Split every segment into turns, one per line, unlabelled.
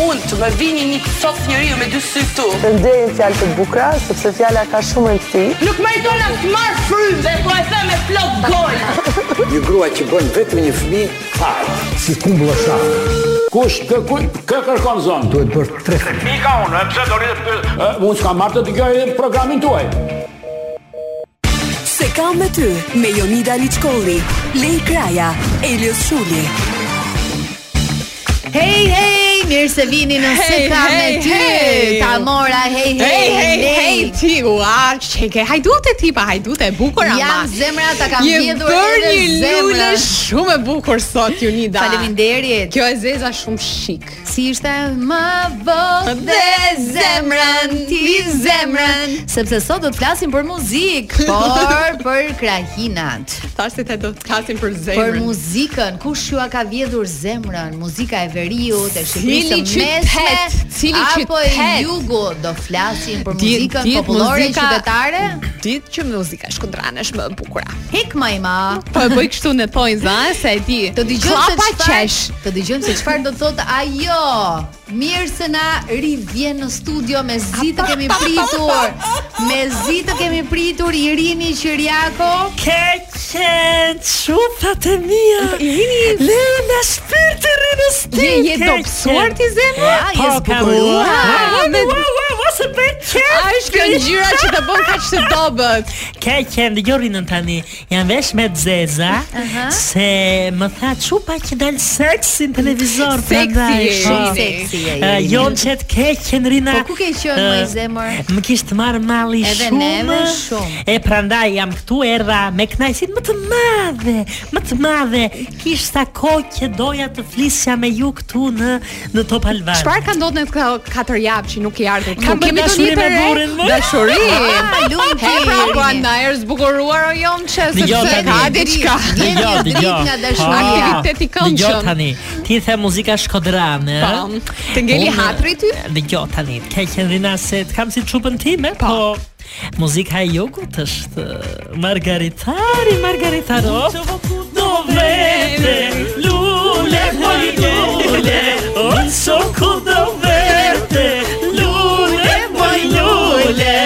unë të më vini një sot njeriu me dy sy këtu.
Përnderin fjalë të bukura, sepse fjala ka shumë rëndësi.
Nuk më don as marr frymë dhe po e the me plot gol.
Një grua që bën vetëm një fëmijë, fare.
si kumbulla shafë.
Kush kë kush kë kërkon zonë?
Duhet bërë tre
Pika unë, pse doni të pyet? Unë s'kam marrë të dëgjoj programin tuaj.
Se kam me ty me Jonida Liçkolli, Lej Kraja, Elios Shuli.
Hey hey, mirë se vini në se
Hey,
kam me
hey,
ty.
hey.
Ta mora hey hey.
Hej, hej,
nej.
hej, ti, ua, çeke, hajdute ti pa hajdute, e bukur ama.
Jam zemra ta kam
Je
vjedhur
bërë
edhe
një lule
zemra.
shumë e bukur sot, Junida.
Faleminderit.
Kjo e zeza shumë shik.
Si ishte më vonë dhe zemrën, ti zemrën Sepse sot do të flasim për muzik, por për krahinat
Thashtë se do të kasim për
Për
zemrën.
muzikën, kush ju a ka vjedhur zemrën, muzika e veriut, e
Cili
Shqipërisë të mesme,
qytet, cili
apo e
qytet?
jugut, do flasim për
Dit-
muzikën
dit
popullore
muzika-
qytetare?
Ditë që muzika shkundrane është më e bukura.
Hikma ima.
Po e bëj kështu në poinza, a, se e di.
Të dëgjojmë se
Klapa
çfarë,
qesh.
të dëgjojmë se çfarë do të thotë ajo. Mirë se na rivjen në studio me zi të kemi pritur. Me zi të kemi pritur Irini Qiriako.
Kërqen, shupat e mija
Irini-
Le në shpirtë rrënës ti
Je je dobësuar ti zemra?
Ja, je zbukurua.
me-
Ua, ua, ua, se bërë
A
qërë
është kjo ngjyra që të bën kaq të dobët?
Kërqen, dhe gjorinën tani Jam vesh me të zeza Se më tha shupa që dalë seksi në televizor
Seksi,
prandaj,
je,
po.
shumë
seksi je,
Eh,
je.
Jonë që të kërqen rina
Po ku ke qenë më
Eh,
zemër?
Më kishtë marrë mali
Edhe
shumë
neve shumë.
E prandaj jam këtu erdha me knajsin më të madhe Më të madhe Kishtë sa kohë që doja të flisja me ju këtu në, në Top Albana
Çfarë ka ndodhur në këto katër javë që nuk i ardhur?
Kam
Nuk
bërë dashuri me burrin, më.
Dashuri.
Ah, lumti,
He pra po
Irini.
na erë zbukuruar o jom që
Dëgjoj
sepse
tani.
ka diçka.
Dëgjoj,
Jemi
dëgjoj.
dritë nga
Ah,
dashuria.
Aktivitet i këndshëm.
Dëgjoj tani. Ti the muzika shkodrane.
Po. Të ngeli hatri ty?
Dëgjoj tani. Ke qendrina se të kam si çupën time, po. Muzika e jogut është eh, Margaritari, Margaritaro. Do vete, lule, moj lule, o soku do vete, lule, moj lule.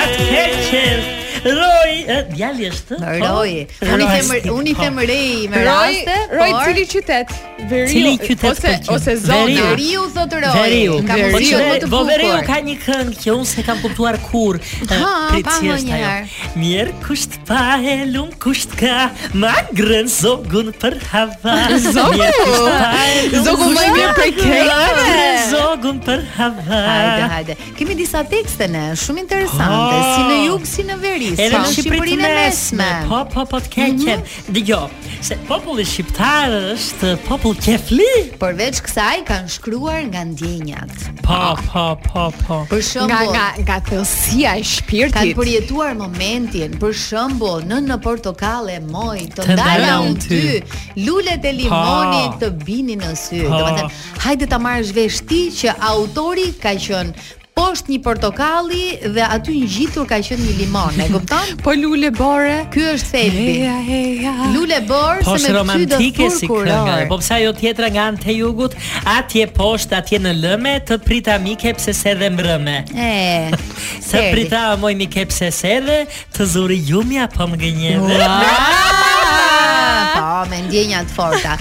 Atë ke qenë, Roj, eh, djali është? po?
Roj. Unë i them
Roj,
unë i
po.
them Rej me
Roj,
raste,
roj
por
cili qytet? Veriu.
Cili qytet
ose
pëlqen?
ose zonë.
Veriu.
Veriu thot Roj.
Veriu.
Ka
Veriu.
muzikë
Ve-
më të
Po Veriu ka
bukur.
një këngë që unë se kam kuptuar kur.
Ha, pa, ha,
Pritësisht
një
ajo.
herë.
Mirë kusht pa e lum kusht ka, ma grën zogun për hava.
Zogu?
Mirë kusht pa e lum
Zogu
kusht
më i mirë
ka,
prej
Ma
kejve.
grën zogun për hava.
Hajde, hajde. Kemi disa tekste ne, shumë interesante,
Ah.
si në jug, si në veri, si
Edhe
në
në Shqipërinë
Shqipërinë e mesme. Mhm.
Po, po, po të keqen. Dëgjoj, se populli shqiptar është popull qefli.
Përveç kësaj kanë shkruar nga ndjenjat.
Po, po, po, po.
Për
Nga
shembull,
nga nga thellësia e
kanë
shpirtit.
përjetuar momentin, për shembull, nën në portokalle moj, të
Të
ndala
ndala
unë
unë
ty, lulet e limonit
Po.
të binin në sy.
Po.
Domethënë, hajde ta marrësh vesh ti që autori ka qenë poshtë një portokalli dhe aty ngjitur ka qenë një limon, e kupton?
Po lule bore.
Ky është thelbi.
Heja, heja.
Lule bor
Po
se
është
me ty do
romantike si kënga.
kurkuror.
Po pse ajo tjetra nga anë te jugut, atje poshtë, atje në lëme, të prita mike pse se dhe mbrëme.
E.
Të
serdi.
prita moj mike pse se dhe, të zuri gjumja po më gënjeve.
Ah, Po, me ndjenja të forta.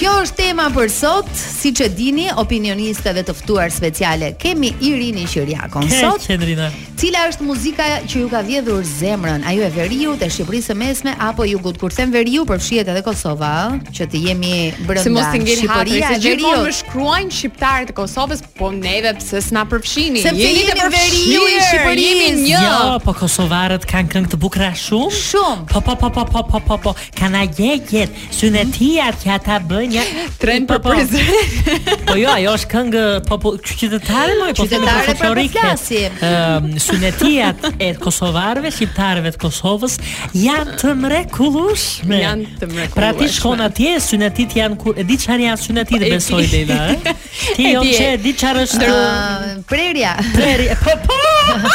Kjo është tema për sot, siç e dini, opinionistëve të ftuar speciale kemi Irini Qiriakon
Ke
sot,
qendrina.
cila është muzika që ju ka vjedhur zemrën, ajo e veriut, e Shqipërisë së mesme apo jugut. Kur them veriu, përfshihet edhe Kosova, ë, që të jemi brenda.
Se mos të ngeli hatri,
Shqipëria
se
e
gjithmonë
veriut.
më shkruajnë shqiptarët e Kosovës, po neve pse s'na përfshini?
Sepse
Jeni të
jemi
përfshirë,
veriu i Shqipërisë.
Jemi një.
Jo, po kosovarët kanë këngë të bukura shumë.
Shumë.
Po po po po po po po po. Kanë gjegjet, synetiat që ata bëjnë. ja.
Tren
Po,
Mhm. për
po.
Prizren.
Po jo, ajo është këngë popu qytetare më, po
Qytetare,
themi
pra, po
folklorike. Ehm,
flasim.
Ëm sunetiat e kosovarëve, shqiptarëve të Kosovës janë të mrekullueshme.
Janë të mrekullueshme.
Pra ti shkon atje, sunetit janë kur e di çfarë janë sunetit
Po, e di.
besoj Leila, ë? Ti
E
jo
di.
që e di çfarë
Ah.
është
Ë, prerja.
preri. Po po.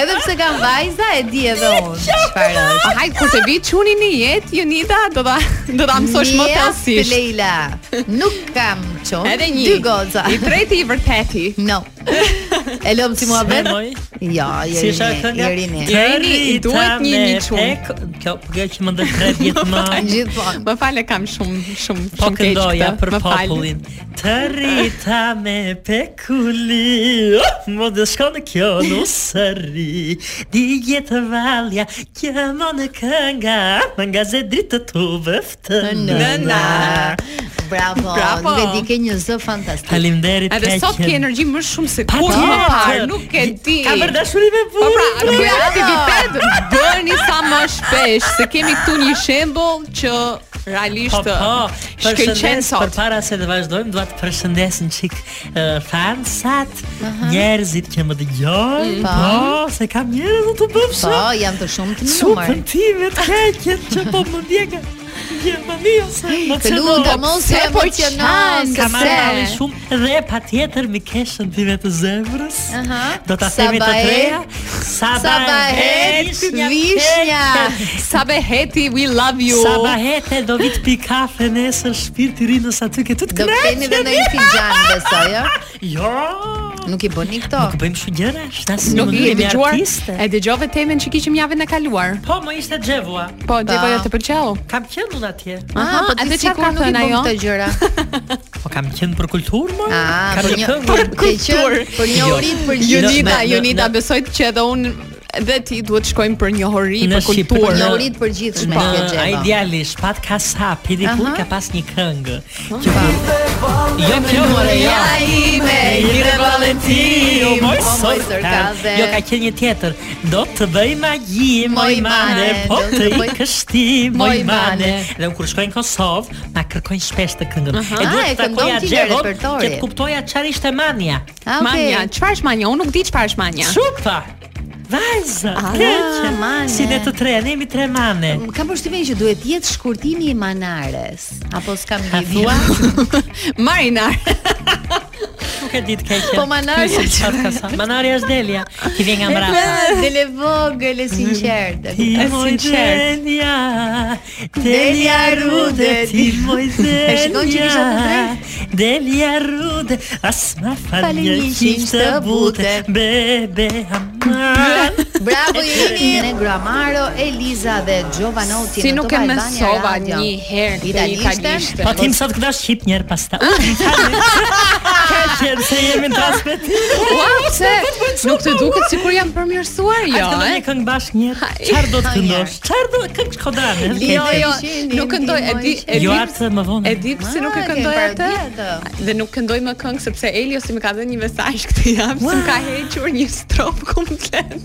Edhe pse kam vajza e di edhe unë çfarë është.
Hajt kur të vi çuni në jetë, Jonida, do ta do ta mësosh më
Një as
thellësisht.
Leila. Nuk kam çon.
Edhe një.
Dy goca.
I treti i vërteti.
No. E lëm si mua vet?
moj?
Jo,
Si është ajo
Jerini, Jerini.
kënga?
Jerini, i duhet një një çun.
çun. Kjo po kjo që më ndër 3 vjet më.
Gjithmonë.
Më falë kam shumë shumë
Po
shumë keq
këndoja
këtë,
për
më fal.
popullin Të rita me pekuli oh, Më dhe shkon kjo në sëri Di jetë valja Kjo më në kënga Më nga ze dritë të vëftë
Nëna.
Bravo.
Bravo.
Nuk e di ke një zë fantastik.
Halimderit
Edhe sot ke energji më shumë se kur më
tjetër.
parë, nuk e di.
Ka bërë dashuri me
Po pra,
burrin.
bëj aktivitet, bëni sa më shpesh, se kemi këtu një shembull që
Po
realisht
po,
shkëlqen
përshëndes për
sot.
para se të vazhdojmë, dua të përshëndes në qik uh, fansat, njerëzit që më dëgjojnë,
Po.
po, se kam njerëz të të bëfshë.
Po, janë të shumë të
Super
numër.
time të keqet që po më ndjeka. Je më mirë se më
Të lutem mos
pse
e
po
emocionon
qanë,
Ka
se
marrë shumë dhe patjetër mi keshën time të zemrës.
Aha.
Do ta
Sa
themi të
bahet,
treja.
sabahet, vishnja.
Sabeheti, we love you.
Sabahete do vit pi kafe nesër shpirti rinës aty ke të të
do keni edhe në një fingjan besoj, jo?
Jo.
Nuk i bëni këto.
Nuk bëjmë kështu gjëra, shtas
Nuk i e dëgjuar. E dëgjove temën që kishim javën e kaluar.
Po, më ishte Xhevua.
Po, Xhevoja të pëlqeu.
Kam qenë unë atje.
Aha, po ti
edhe çfarë
sikur
ka
nuk i
thënë
bën
ajo?
këto gjëra.
Po kam qenë për kulturë, më?
Ah,
kam
për
një
një
këngë.
për kultur,
kultur.
për një urit, për
Jo,
gjithë.
Jonida,
në- në-
Jonida
në-
besoj që edhe unë dhe ti duhet shkojmë për një hori
Në
për
Shqipëri,
Për
kulturë.
një
në-
urit për gjithshme
Në
kjo
Po, ai
gjëra.
djali shpat kasap, i dikur
Aha.
ka pas një këngë. Që Jo kjo more ja.
Ja ime,
I dhe Valentino,
Valentino,
Jo,
o,
moj
Po, moj
sot
sorkaze.
Jo, ka qenë një tjetër Do të bëj magji, moj
Moj
mane
mane,
Po
do
të
të
i
bëj-
kështi, moj
Moj
mane
mane.
Dhe unë kur shkoj në Kosovë Ma kërkojnë shpesh të këngën E
Ah,
duhet
e
të takoja
këndon ti në
Gjevon
repertori.
Që të kuptoja qarë ishte manja
Ah, okay.
Manja, çfarë është manja? Unë nuk di çfarë është manja.
Shupa Vajza, keqe
mane.
Si ne të tre, ne jemi tre mane
Më Kam përshtypjen që duhet të jetë shkurtimi i Manares, apo s'kam
A
një
thua?
ide.
Marinar.
Nuk e ditë keqe
Po Manarja
Ky si qatë ka sa. Manarja është delja Ki vjen nga mbrapa
Dele vogël e sinqert. e
Ti
kuptoj.
moj
sinqert.
delja Delja rude Ti moj
E shikon që kisha të
delja
drejtë?
Delja rude As ma
Falë
falje
një
Qish të
qishtë bute.
bute Bebe aman
Bravo Irini, Negro Amaro, Eliza dhe Giovanotti
Si
në
nuk e
Top Albania
mësova
Radio.
një herë këtë
Italishte.
italishte.
Po tim sot këta shqip njerë pas ta Keqen se jemi në transmitim
Ua, pse? Nuk të duket sikur jam përmirësuar,
A
jo,
të
e?
një këngë bashkë njerë Qarë do të këndosh? Qarë do këngë shkodane?
Jo, jo,
Qenin,
nuk këndoj, e di, e
Jo
di.
atë më vonë
E di pse nuk e
Ah,
këndoj atë.
kemi parodi atë.
Dhe nuk këndoj më këngë sepse Elio si më ka dhënë një mesazh këtë javë, se më ka hequr një strofë komplet.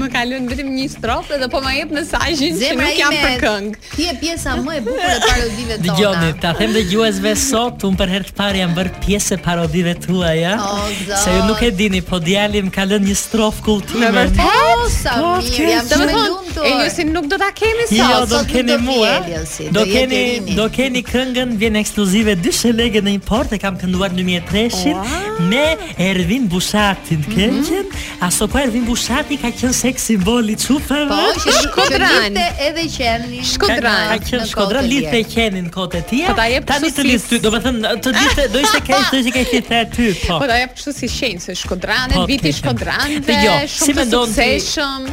Më ka lënë vetëm një strofë dhe po më jep mesazhin se
Zemra
nuk jam
ime,
për këngë.
Ti je pjesa më e bukur e parodive tona.
Dëgjoni, ta them dëgjuesve sot, unë për herë të parë jam bërë pjesë e parodive tuaja.
O, Zot.
se ju nuk e dini, po djali më ka lënë një strofë kultime.
Me vërtet?
Po, sa mirë,
Do
jam
të
shumë e
thonë,
lumtur.
Eliosin nuk do ta kemi
Jo,
sot.
do
sot
të
nuk
keni
do vi
mua.
Eliosi, do
Do
jetë
keni
Erini.
do keni këngën vjen ekskluzive dy shelege në import e kam kënduar në 2003-shin me Ervin Bushatin. Këngën, aso po Ervin Bushati ka qenë seks simboli çupave.
Po, që
Shkodran.
Shkodran. edhe qeni.
Ka-
Shkodran,
Ka qenë Shkodran lidhte qenin në kotë e tij.
Po ta jep
Tani
kështu
të
si-
lidh ty, domethënë të dishte do ishte keq, do ishte keq ti the ty, po.
Po ta jep kështu si shenjë se Shkodranet,
Po,
viti
tjetër.
Shkodranëve,
Dëgjoj, si
shumë të
mendon ti-
suksesshëm.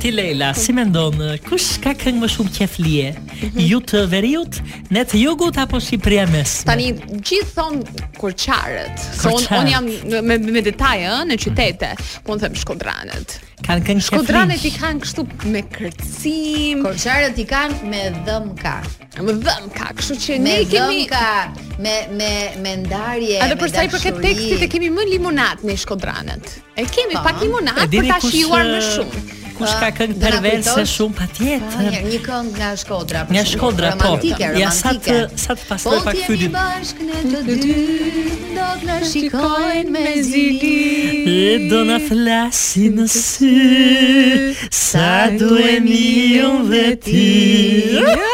Ti Leila, si mendon, kush ka këngë më shumë qef lije?
Mhm.
Ju të veriut, ne të jugut apo Shqipëria e mesme?
Tani gjithë thon kurçarët. Se un,
Kurçarët.
un jam me me detaje ë në qytete. Po un them Shkodranet.
kanë këngë qef
Shkodranet i
lije.
kanë kështu me kërcim,
Korçarët i kanë me dhëm ka.
me dhëm ka, kështu që
Me
ne i
dhëm
kemi
ka, me me me ndarje,
Edhe
me
për sa i përket
dashuri.
tekstit e kemi më limonat në Shkodranet. E kemi
Po.
pak limonat
E
për
dini
ta
kush,
shijuar
eh,
më shumë. Ah,
Kush ka këngë
Do na
perverse
kujtosh?
shumë
Pa,
patjetër?
Një një këngë nga Shkodra. për
Nga
shembull,
Shkodra, po.
Romantike, Po
Ja, sa të-
romantike.
sa të pastaj
Po
pak fytyn.
t'jemi bashkë ne të dy, do sot në shikojnë me zili
E do na flasi në sy Sa duhemi unë dhe ti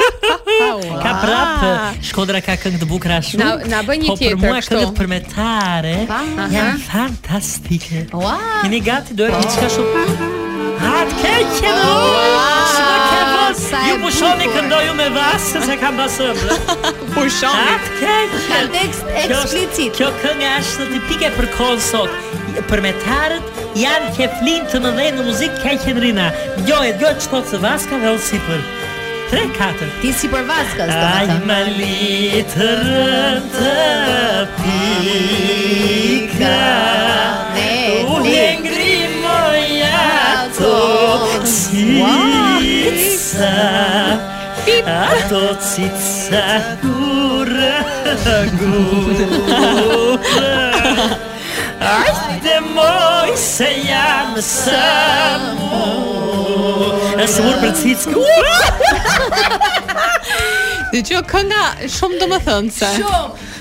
Ka prapë Shkodra ka këngë të bukura shumë
Ah. Na- na bëj një
Po për
tjetër,
mua
kështu.
këngët përmetare
Pa, aha.
Janë fantastike
Ua,
Jeni gati do e diçka shumë Atë keqe në Shko ke
Oh,
vës
sa e
Ju pushoni
bukur.
këndoju me vasë Se kam basëm
Pushoni.
Atë keqe
ka tekst
Kjo është-
eksplicit
Kjo kënga është tipike për kohën sot. Përmetarët janë keflin të mëdhenj në muzikë ka qendrina. Djoje, djoje çkot së vaska dhe ose sipër. 3 4
Ti si për vaskës, do
Ai
të
ma litër të pika
Ne,
U
ne
lengrimoja ato cica Ato cica gura gura Ajde moj se jam samo E se murë për cicë Ua!
Dhe që kënga shumë do më thënë se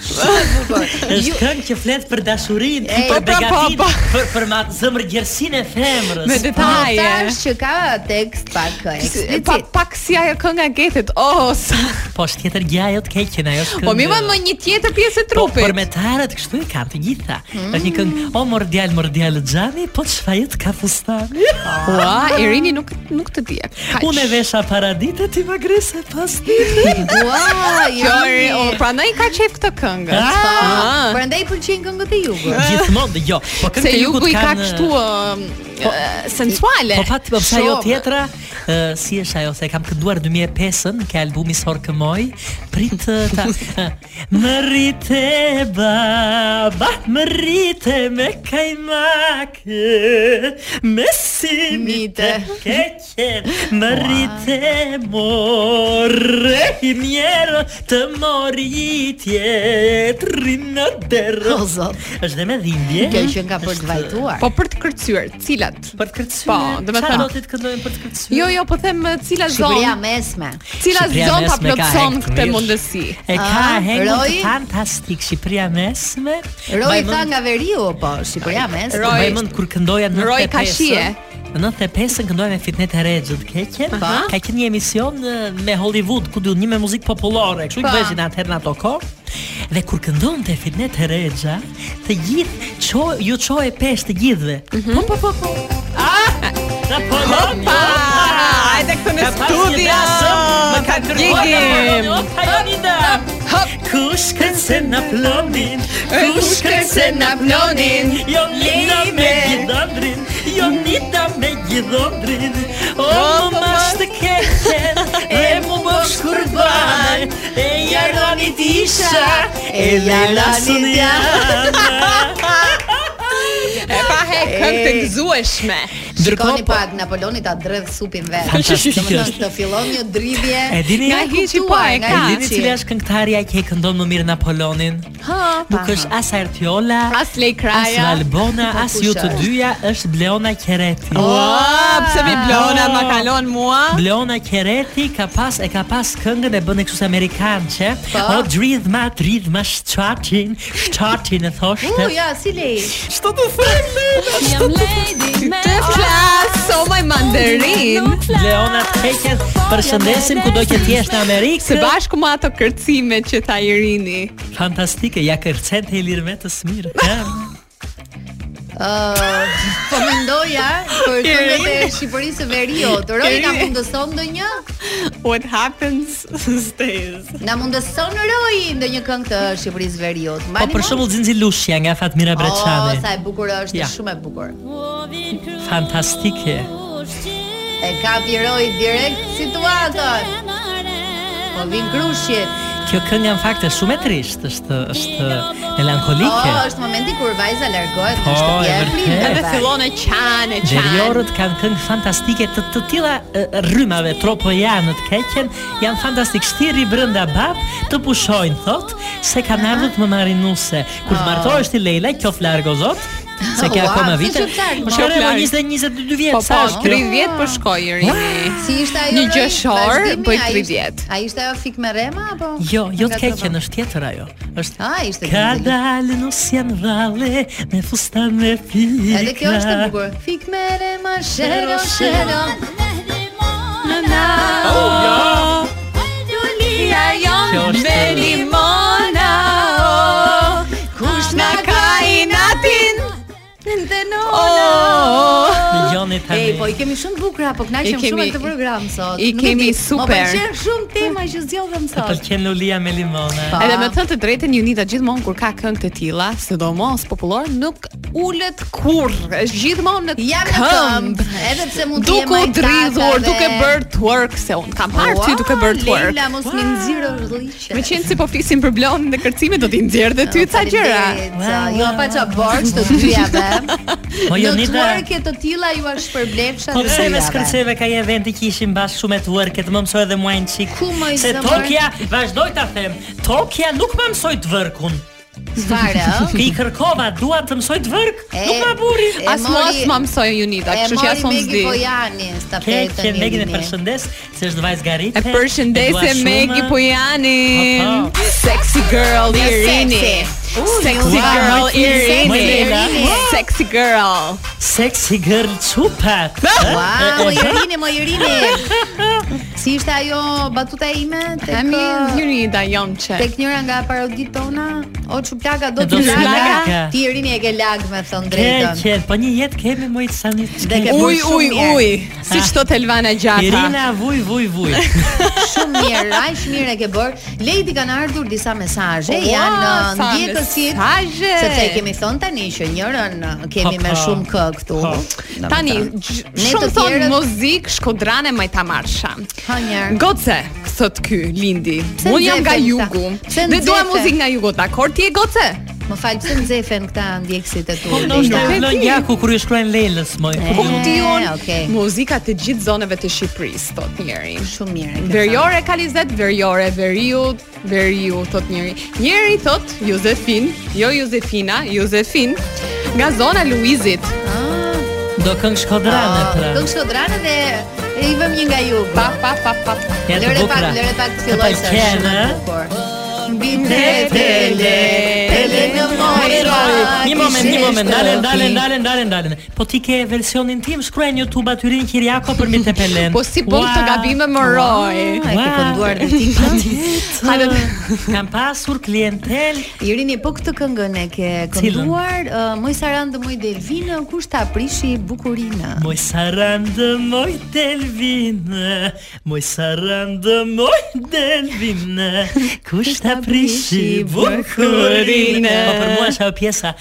Është këngë që flet për dashurinë,
Ej,
për
po, pra, po,
begatin,
po.
për për matë zemër gjersinë e femrës.
Me
Po,
detaje
tash që ka tekst pak
Pa,
eksplicit
pak si ajo kënga getit Oh, sa
Po është tjetër gjë ajo të keqen ajo është këngë.
Po mi vën më një tjetër pjesë e trupit
Po për metarët kështu i kanë të gjitha. Është një këngë o mor djal mor djal xhami, po çfajet ka fustani.
Ua, Po, Irini nuk, nuk të dje Kaq.
Unë e vesha paraditë ti më grisë pas ditë.
Ua,
Kjo,
joni
o, pra në i ka qef këtë këngë
Po,
Ah.
Për ndaj pëlqen këngët e jugut
Gjithmonë dëgjoj. Po këngët
Se
e
jugu i ka
kanë-
kështu ë, ë, sensuale
Po pat, po pse ajo
Shumë.
tjetra, ë, si është ajo se kam kënduar 2005-ën ke albumi Sor Këmoj, prit ë, ta ë, Më rritë baba, më rritë me kajmak, me simite keqen, më rritë more, i mjerë të moritje, të rinë derë.
O, zot.
është dhe me dhimbje.
Kjo që nga për të vajtuar
Po për të kërcyer, cilat?
Për të kërcyer.
Po, do me
Qa
thënë-
do të të këndojnë për të kërcyer?
Jo, jo, po them ë, cila
Shqipëria
zonë
mesme
Cila
Shqipëria
zonë ta
mesme ka
plotëson
hekt
këtë
mirë.
mundësi?
E ka
Ah,
hengur
Roy?
të fantastik Shqipëria mesme.
Roj
Mbaj
tha
mend-
nga veriu, po Shqipëria mesme
Roy.
mbaj mend kur këndoja në
Roy ka shije.
Në 95-ën këndoja me Fitnet e Regjët, ke qenë?
Aha.
Ka qenë një emision në- me Hollywood, ku duhet një me muzikë popullore, kështu i
Pa.
bëheshin atëherë në ato kohë. Dhe kur këndon të Fitnet e Regja, të gjithë qo, ju qoje pesh të gjithëve.
Mhm.
Po, po, po, po. Ah! Po,
Pa, hajde këtu në
Ka pas një
studio.
dasëm, më ka kërkuar në
Gjigim.
Poloni, opa, Jonida. Kush kërën se në plonin, kush kërën se në plonin, Jonida Jo me gjithondrin, Jonida me gjithondrin, o më mash të keqen, e mu bësh kurban, e jaronit isha, e lalasën janë.
E pa he këngë të gëzueshme.
Shikoni
po-
pak Napoloni ta dredh supin vet.
Fantastike
Domethënë
është.
të fillon një dridhje.
E dini-
nga
Nga
hiçi
kuptuar,
po e
nga
ka.
hiçi.
E dini cili është këngëtarja që e këndon më mirë Napoleonin?
Ha,
Nuk është as Artiola,
As Lej
as
Kraja.
Valbona,
Po,
as
kush
ju të
është?
dyja, është Bleona Qereti.
Ua, pse mi blona
Ah.
ma kalon mua?
Bleona Qereti ka pas e ka pas këngën e bën e kështu amerikançe. O dridh ma dridh ma shtatin, shtatin e thoshte.
U, ja, si lej.
Çto të them?
Jam lady me
Të flas, o maj mandarin.
Bleona Qereti, përshëndesim kudo që ti jesh në Amerikë.
Se bashku me ato kërcime që tha Irini.
Fantastike, ja kërcen të ilir me të smirë. Ja.
Ë, po mendoja për këngët e Shqipërisë së veriut. Roy na
Keri.
mundëson ndonjë?
What happens stays.
Na mundëson Roy ndonjë këngë të Shqipërisë së veriut.
Po
Mbani
për
mend?
shembull Zinzi Lushja nga
Oh,
Fatmira
O, sa
Breçani.
e bukur është,
Ja.
shumë e bukur.
Fantastike.
E kapi Roy direkt situatën. Po vin grushit.
Kjo këngë në fakt është shumë e trisht, është është
Po,
melankolike.
është momenti kur vajza largohet
Po,
nga shtëpia
e
e
vërtet.
Edhe
prindërve.
fillon e qanë, e qanë.
Deriorët kanë këngë fantastike të të tilla e, rrymave tropojanët keqen, janë fantastik shtiri brenda bab, të pushojnë thot se kanë ardhur të më marrinuse. Kur të martohesh ti Leila, qof largo zot, se ke
Ua,
akoma
Ah. si
vite.
shqiptar,
Po
ma.
shkoj
Larg.
20 22
Po
vjet
po,
sa është kjo?
30 po shkoj i rini.
Si ishte ajo?
Një
Roy?
gjyqshor,
Vazhdimi,
bëj
a ishte-
30.
A ishte ajo fik me rema apo?
Jo, jo
Nga
të keqen
trova?
është tjetër ajo. Është
Ah, ishte
Ka
tjetër.
dalë në janë valle me fustan me pika.
Edhe kjo është e bukur. Fik me rema, shero, shero.
Julia jon
Kjo është-
me limona oh, Kush na ka i natin
Të
oh,
Dëgjoni tani.
Ej, po i kemi shumë bukura, po
I
kënaqem
kemi-
shumë me këtë program sot.
i
Nuk e
kemi
di, Më
super.
pëlqen shumë tema që zgjodhëm
Të
sot.
pëlqen Lulia me limone.
Pa.
Edhe me thënë të drejtën Junita gjithmonë kur ka këngë të tilla, sidomos popullor, nuk ulet kurrë. Është gjithmonë në
Jam në
këmbë.
këmbë, edhe pse mund të jem
Duke u
ajtaka
dridhur,
dhe-
duke bërë twerk se unë kam parë ty duke bërë twerk.
Leila mos më nxirë rrliqe.
Me qenë si po flisim për blondën dhe kërcimin do t'i nxjerr dhe ty ca gjëra.
Wow,
Jo
wow,
pa ça borx të dyja be.
Po
Në
Jonida.
twerke të tilla ju është shpërblefsha
Po
të
pse me
dyjave.
skërceve ka një eventi që ishim bashkë shumë e të vërket, më mësoj edhe mua një çik.
Ku më i
Se
zëmër?
Tokja, vazhdoj ta them, Tokja nuk më mësoi të vërkun.
Çfarë? ë?
Ki kërkova, dua të mësoj të vërk,
E,
nuk më burri.
E
As mua
mori-
as më mësoi Unita,
E
kështu që
mori
as unë
Megi
s'di.
Bojani
Ke
stafetën.
që Megin e
Irini.
përshëndes, se është vajzë garite.
E përshëndesë
dua shumë.
Megi Pojanin.
Po,
Sexy girl Irini. Sexy
wow,
girl
më ti- më Leila.
Irini. Sexy girl.
Sexy girl çupat.
Wow, Irini, mo Irini. Ah, Si ishte ajo batuta ime tek
Ami Unita jam çe.
tek njëra nga paroditë tona? O çuplaka do
Do
të
t'ju laga.
laga. Ti Irini e ke lag me thënë drejtën.
Ke, po një jetë kemi mojë të sani
Dhe ke
Uj,
shumë
uj,
mirë.
uj. Si që thot Elvana Gjata.
Irina, vuj, vuj, vuj.
Shumë mirë, aq mirë e ke bër. Lady kanë ardhur disa mesazhe,
Ua,
janë uh,
sa
ndjekësit.
mesazhe.
Sepse e kemi thënë tani që njërën uh, kemi
Po,
me
po.
shumë kë këtu.
Po.
Domethënë.
Tani,
Ne
shumë
të
thonë
tjerët-
muzik, shkodrane, majtamarsha.
Ha njerë.
Goce, thot ky, Lindi.
Pse
Unë jam nga
nxefen
jugu.
këta? Pse
Dhe dua
nxefen?
muzik nga jugu, dakor? Ti je goce?
Më falë, pse nxefen këta ndjekësit e tu?
Po
Lida?
do të
e
vlon
di.
jaku kur ju shkruajnë Lelës moj.
E,
Po
Ti unë,
okay.
muzika të gjithë zonave të Shqipërisë, thot njeri.
Shumë mirë. e ke
Verjore ka Lizet, verjore, veriu, veriu, thot njeri. Njeri thot Jozefin, jo Jozefina, Jozefin, nga zona Luizit.
do këngë shkodrane pra.
Ah, Këngë shkodrane dhe e i vëm një nga ju.
Pa, pa, pa, pa, pa.
Ja të
Lëre pak,
bukura.
lëre pak të filloj
Të
se
pëlqen,
shumë e
ë?
bukur. Mbi te tele, tele në mojra.
Një moment, një moment, dale, dale, dale, dale, dale. Po ti ke versionin tim, shkruaj në YouTube atyrin Kiriako për Milte Pelen.
Po si bën këtë gabime më roj.
Ua, e ke kënduar dhe ti.
Hajde. Kam pasur klientel.
Irini, po këtë këngën e ke
Cilën?
kënduar, uh, moj Saran dhe moj Delvinë, kush ta prishi bukurinë?
Moj sarandë, moj delvinë, moj sarandë, moj delvinë, kush ta prishi bukurinë. Po për mua është ajo pjesa,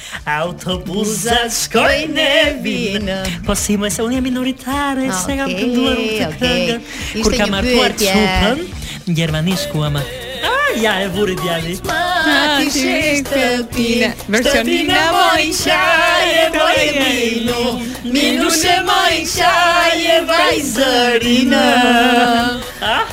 autobusat shkojnë e vinë. Po si, moj se unë jam minoritare, se kam
Okej,
kënduar unë këtë
okej.
këngën.
Ishte
Kur kam
një
martuar
pyetje.
çupën, në Gjermani shkuam. Ah, ja, e vuri djali.
Ah,
Ti shesh shtëpinë,
Versionina moj
qaje, moj vino, minushe moj qaje, vajzërinë.
Ah,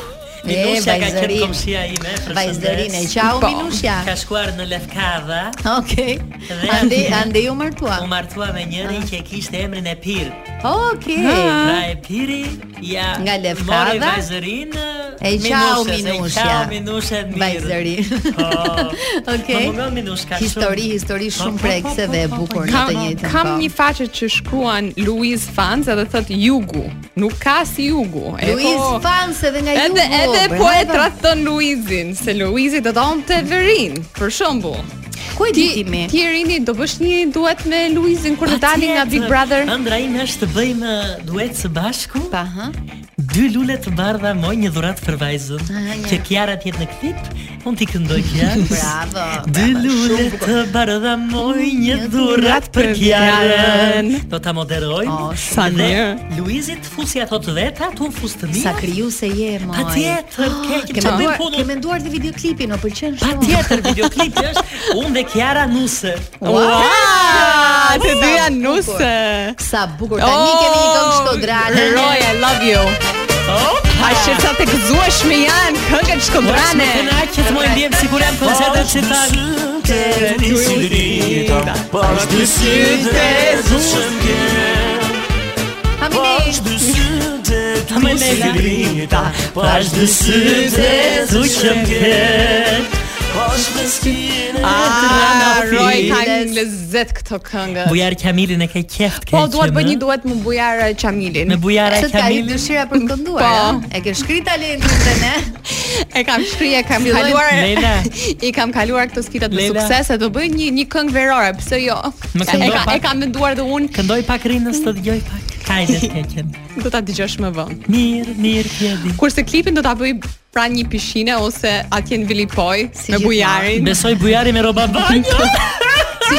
Minushja ka qenë
vajzërin.
komshia ime, përshëndes.
Vajzërinë, qau
Po.
minushja.
Ka shkuar në Lefkadha,
Okej.
Dhe- Po,
Ande ande ju martua.
u martua me njërin që kishte emrin e Pir.
Okej.
Pra e Piri ja
Nga Lefkadha.
mori vajzërinë
E qau
Minushes,
minushja.
E qau minushja mirë.
Vajzërin.
Po.
Okej.
Më mungon minushka. shumë.
Histori, histori shumë
Po, po, po,
prekse
po,
dhe e
po, po,
bukur në
Kam,
të njëjtën po.
kam
kohë.
një faqe që shkruan Luiz Fans edhe thot Jugu. Nuk ka si Jugu. E,
Luiz
po,
Fans edhe nga Jugo.
Edhe edhe
bravo.
poetrat thon Luizin, se Luizi do donte Verin, për shembull.
Ku e di ti
Ti
me?
ti Rini do bësh një duet me Luizin kur të dalin nga Big
Patjetër.
Brother?
Ëndra ime është të bëjmë uh, duet së bashku.
Pa, ha?
Dy lule të bardha moj një dhuratë për vajzën.
Ah, ja.
Që Kiara të jetë në klip, unë t'i këndoj Kiarës.
Bravo,
Dy
bravo,
lule
shumë
të bardha moj një
Një
dhuratë për
për
Kiarën.
Kiarën.
Do ta moderojmë.
Oh,
sa
Dhe
mirë.
Luizi të fusi ato të veta, tu fus të mia.
Sa kriju se je, moj.
Patjetër, ke
Ke
ke të bëjmë
menduar, ke
punën.
menduar dhe videoklipin, o pëlqen shumë.
Patjetër videoklipi është unë dhe Kiara Nuse.
Ah,
Ua! Ah, Të dyja nuse. Oh!
Sa bukur tani kemi një këngë shkodrale.
Roy, I love you. A shqetësa të gëzueshme janë këngët shkondrane.
Më kënaqet më ndjem sikur jam koncertet që tani.
po,
Hamini,
Më lejla Pashtë sytë Zuqëm këtë
Ah, Roy ka një
Kujdes.
lezet këto këngë.
Bujar Kamilin e ke qeft ke
Po, duhet
që
bëj
më?
një duet me Bujar e Qamilin.
Me bujara
se të ka i
Kamilin
dëshira për të kënduar,
Po.
a? e ke shkri talentin dhe ne,
E kam shkrirë, e kam
Fillojmë.
kaluar.
Leila.
I kam kaluar këto skitat me
Leila.
sukses, e do bëj një një këngë verore, pse jo?
Më
E
këndo
ka e
pak.
kam menduar dhe unë
Këndoj pak rinës të dëgjoj pak Kajde të keqen
do ta dëgjosh më vonë.
Mirë, mirë pjedi
Kurse klipin do ta bëj pra një pishine ose atje në Vilipoj
Si
me
gjithmonë.
Bujarin.
Besoj bujari me roba banjo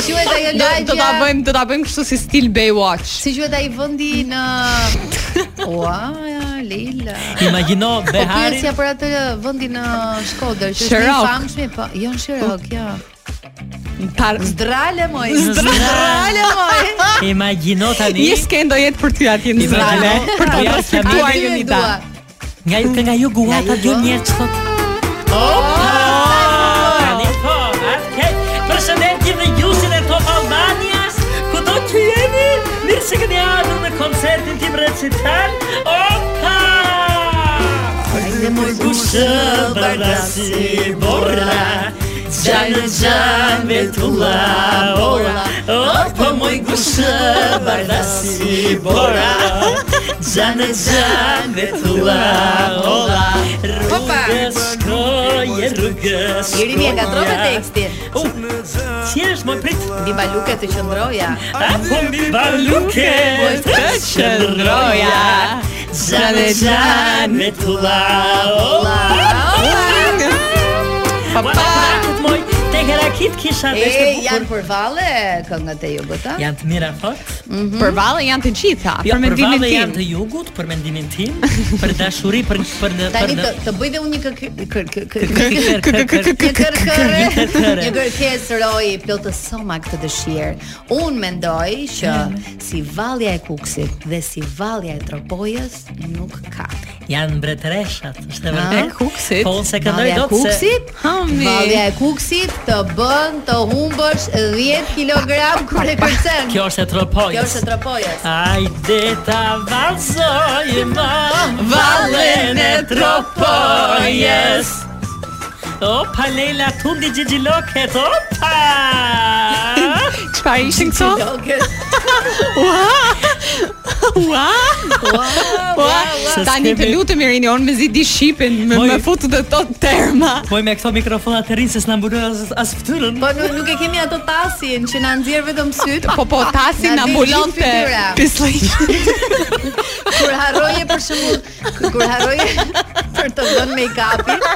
si quhet ajo
Do, do ta
lagja,
bëjmë do ta bëjmë kështu si stil Baywatch.
si quhet ai vendi në, ua, Leila,
Imagino
Po
Beharin
pyetja për atë vendin në Shkodër që është i
Shirok.
famshëm, po jo në Shirok, jo.
Tar
Zdrale moj.
Zdrale,
moj.
Imagino tani
Një sken do jetë për ty atje në Zrale,
Imagino
për ta
Bujar
transkriptuar
Kamilin.
një unita.
Nga ju kënga ju guata
Nga ju
dy
guata.
njerëz sot. Opa! Tani po, atë. Përshëndetje dhe jusin e Top Albanias. Kudo që jeni, mirë se keni ardhur në koncertin tim recital. Opa! Hajde moj kushë bardasi borra Gjanë gjanë betulla bora Opa moj kushë bardasi bora Zane zane dhe thua Ola Rrugës shkoje rrugës
Jeri mi e ka trove tekstin.
U, si është më prit?
Mbi baluke të qëndroja.
Apo mbi baluke të qëndroja Zane zane dhe thua Ola Pa pa moj Te kerakit kisha
E,
dhe ishte
janë
bukur
për valle këngët e jugut, a?
Janë të mira fort
Mm,
Për valle janë të gjitha,
Mhm. Jo,
për
për
mendimin
valle janë të
tim.
jugut, për mendimin tim, për dashuri, për për për
Tani të,
për-
të bëj dhe unë një kë- kë- kë- kë- kë-
Kë- kë- kë- kë- kë-
Një kërkërë,
Një kërkërë.
një kërkesë roji plotësoma këtë dëshirë. Unë mendoj që si vallja e Kuksit dhe si vallja e Tropojës nuk ka.
Janë mbretëreshat, është e
E
vërtetë.
kuksit.
Po unë se këndoj
Vallja e
dot se
Ah, Kuksit,
Hami.
vallja e Kuksit të bën të humbësh 10 kg kur e kërcen.
kjo është e tropojës.
Kjo është e Tropojës.
Ajde ta valsoj ma
vallen
Valen e
e
tropojës Opa Leila tundi gjigjiloket Opa
Çfarë ishin këto?
Loket.
Ua! Ua!
Se
Po, Tani
s'kemi-
të lutem Irini, unë mezi di shipin, më
Moj-
më fut të tot terma.
Po me këto mikrofona të rinë se s'na mbulon as, as fytyrën
Po nuk, nuk e kemi ato tasin që na nxjerr vetëm syt.
Po po, tasi
Na
na
del
mbulon
gjithë
te
fytyra.
pislliq.
Kur harroje për shembull, kur harroje për të bën make-upin,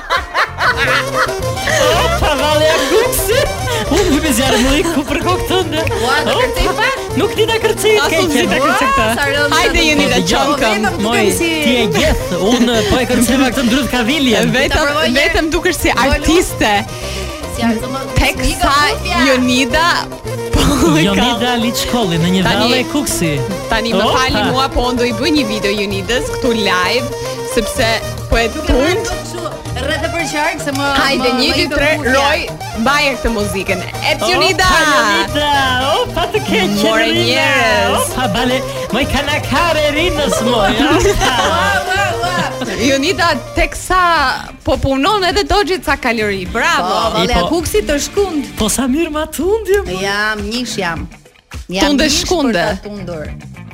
Opa vale e kuksit Unë vëmë zjarë më i ku përko këtë ndë
Ua, do kërcej pak?
Nuk ti na kërcej
As
ke
unë
qenë.
zita kërcej këtë.
Sa rëndë
Hajde,
janë
jeni
ato.
dhe
Po,
qankëm.
vetëm
Moj,
dukem si
ti e gjeth, unë po e kërceva këtë ndryth ka viljen
Ta
Vetëm
provoj një-
vetëm dukesh si
Volu.
artiste.
si arzoma.
Tek sa Jonida po e ka-
Jonida Liçkolli në një
Tani-
valle e kuksi.
Tani më
Opa.
fali mua, po unë do i bëj një video Jonidës këtu live, sepse po e tund.
Rreth e për qark se më
Hajde,
më-
një,
më
dy,
ikën
tre,
mutja.
roj, baje këtë muzikën. Et Jonida!
Opa Jonida, opa të keqen.
More
Rina.
njerëz.
Opa bale, moj kanakare rinës moj.
Ua, ua, ua.
Jonida tek sa po punon edhe dogjit sa kalori.
Po,
Bravo.
vallja
po.
kuksi të shkund.
Po sa mirë ma tundje. mo.
Jam mish jam. Jam
Tunde
mish
shkunde.
Për ta tundur.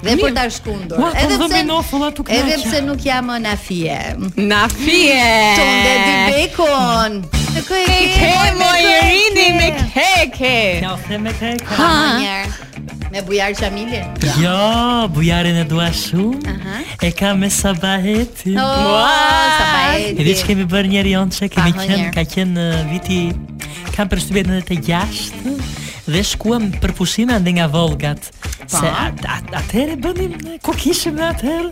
Dhe për ta shkundur.
Ua, po vëmino, fulla, tu
edhe
knaqja.
pse nuk jam në fije.
Na fije.
Tunde dy bekon. Të kë e
Me
ke
ke
moj, me kë e
mojrini
ke?
me keke.
Ja, ofre me te
Pa,
ka.
më njerë. Me bujar qamilin.
Jo, bujarin e dua shumë. E kam me sabahetin.
Oh.
Mua, sa pa e
E di që kemi bërë njeri onë që kemi
Aha,
qenë,
njerë.
ka qenë në viti, kam për shtybet në të gjashtë, dhe shkuam për pushime ande nga Volgat. Se at, at, atëherë bënim, kur kishim në atëherë,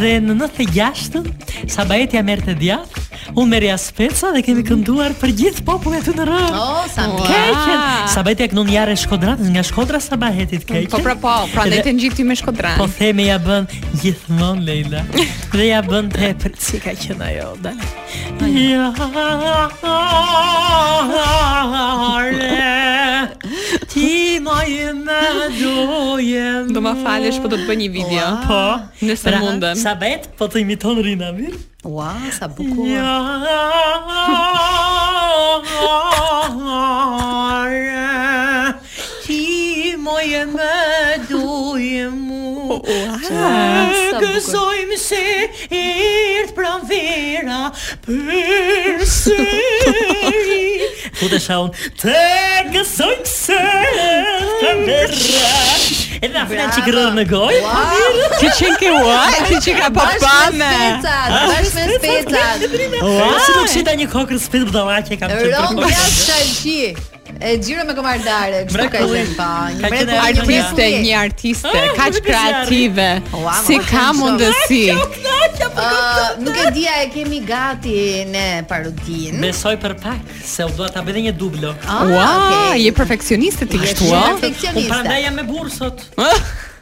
dhe në 96-ën, Sabajeti ja merrte djathtë, Unë merja speca dhe kemi kënduar për gjithë popullin aty në rrugë.
Oh, sa mirë.
Keqen.
Ua.
Sabaheti ak non jare Shkodratës, nga Shkodra Sabahetit keqen.
Ah. Po pra po, pra ndaj të
Edhe-
ngjiti me Shkodran.
Po theme ja bën gjithmonë Leila. Dhe ja bën tepër si ka qenë ajo, dal. Ja. Ti më e më doje.
Do ma falesh, po do të bëj një video.
Po.
Nëse
Pra,
mundem.
Sabet po të imiton Rina mirë.
Ua, sa bukur.
Jo.
Ja. Ti moje më duje mu
sa
Të
bukur.
gëzojmë se erdë pranvera Për sëri Fute shaun Të gëzojmë se erdë pranvera Edhe na filan që kërërë në gojë
Ti që ke ua, ti që ka po
Bashkë me specat, bashkë me specat.
Ua, si nuk shita një kokër spit budala që kam qenë
Ron
për-
Blas Shalqi. E gjyra me komardare, kështu ka
Mrekulli.
qenë pa.
Ka
Një
qenë
mrekulli, një
Artiste,
mrekulli.
një artiste,
Ah,
kaq
nuk e
kreative.
Ua, ma
Si
shumë
ka
shumë.
mundësi?
Knaqja për
Ë, nuk e dia e kemi gati në parodin.
Besoj për pak se u dua ta bëj dhe një dublo.
Ah,
Ua,
okay.
je perfeksioniste ti
Je
kështu,
shumë
a?
perfekcioniste.
Unë prandaj jam me burr sot.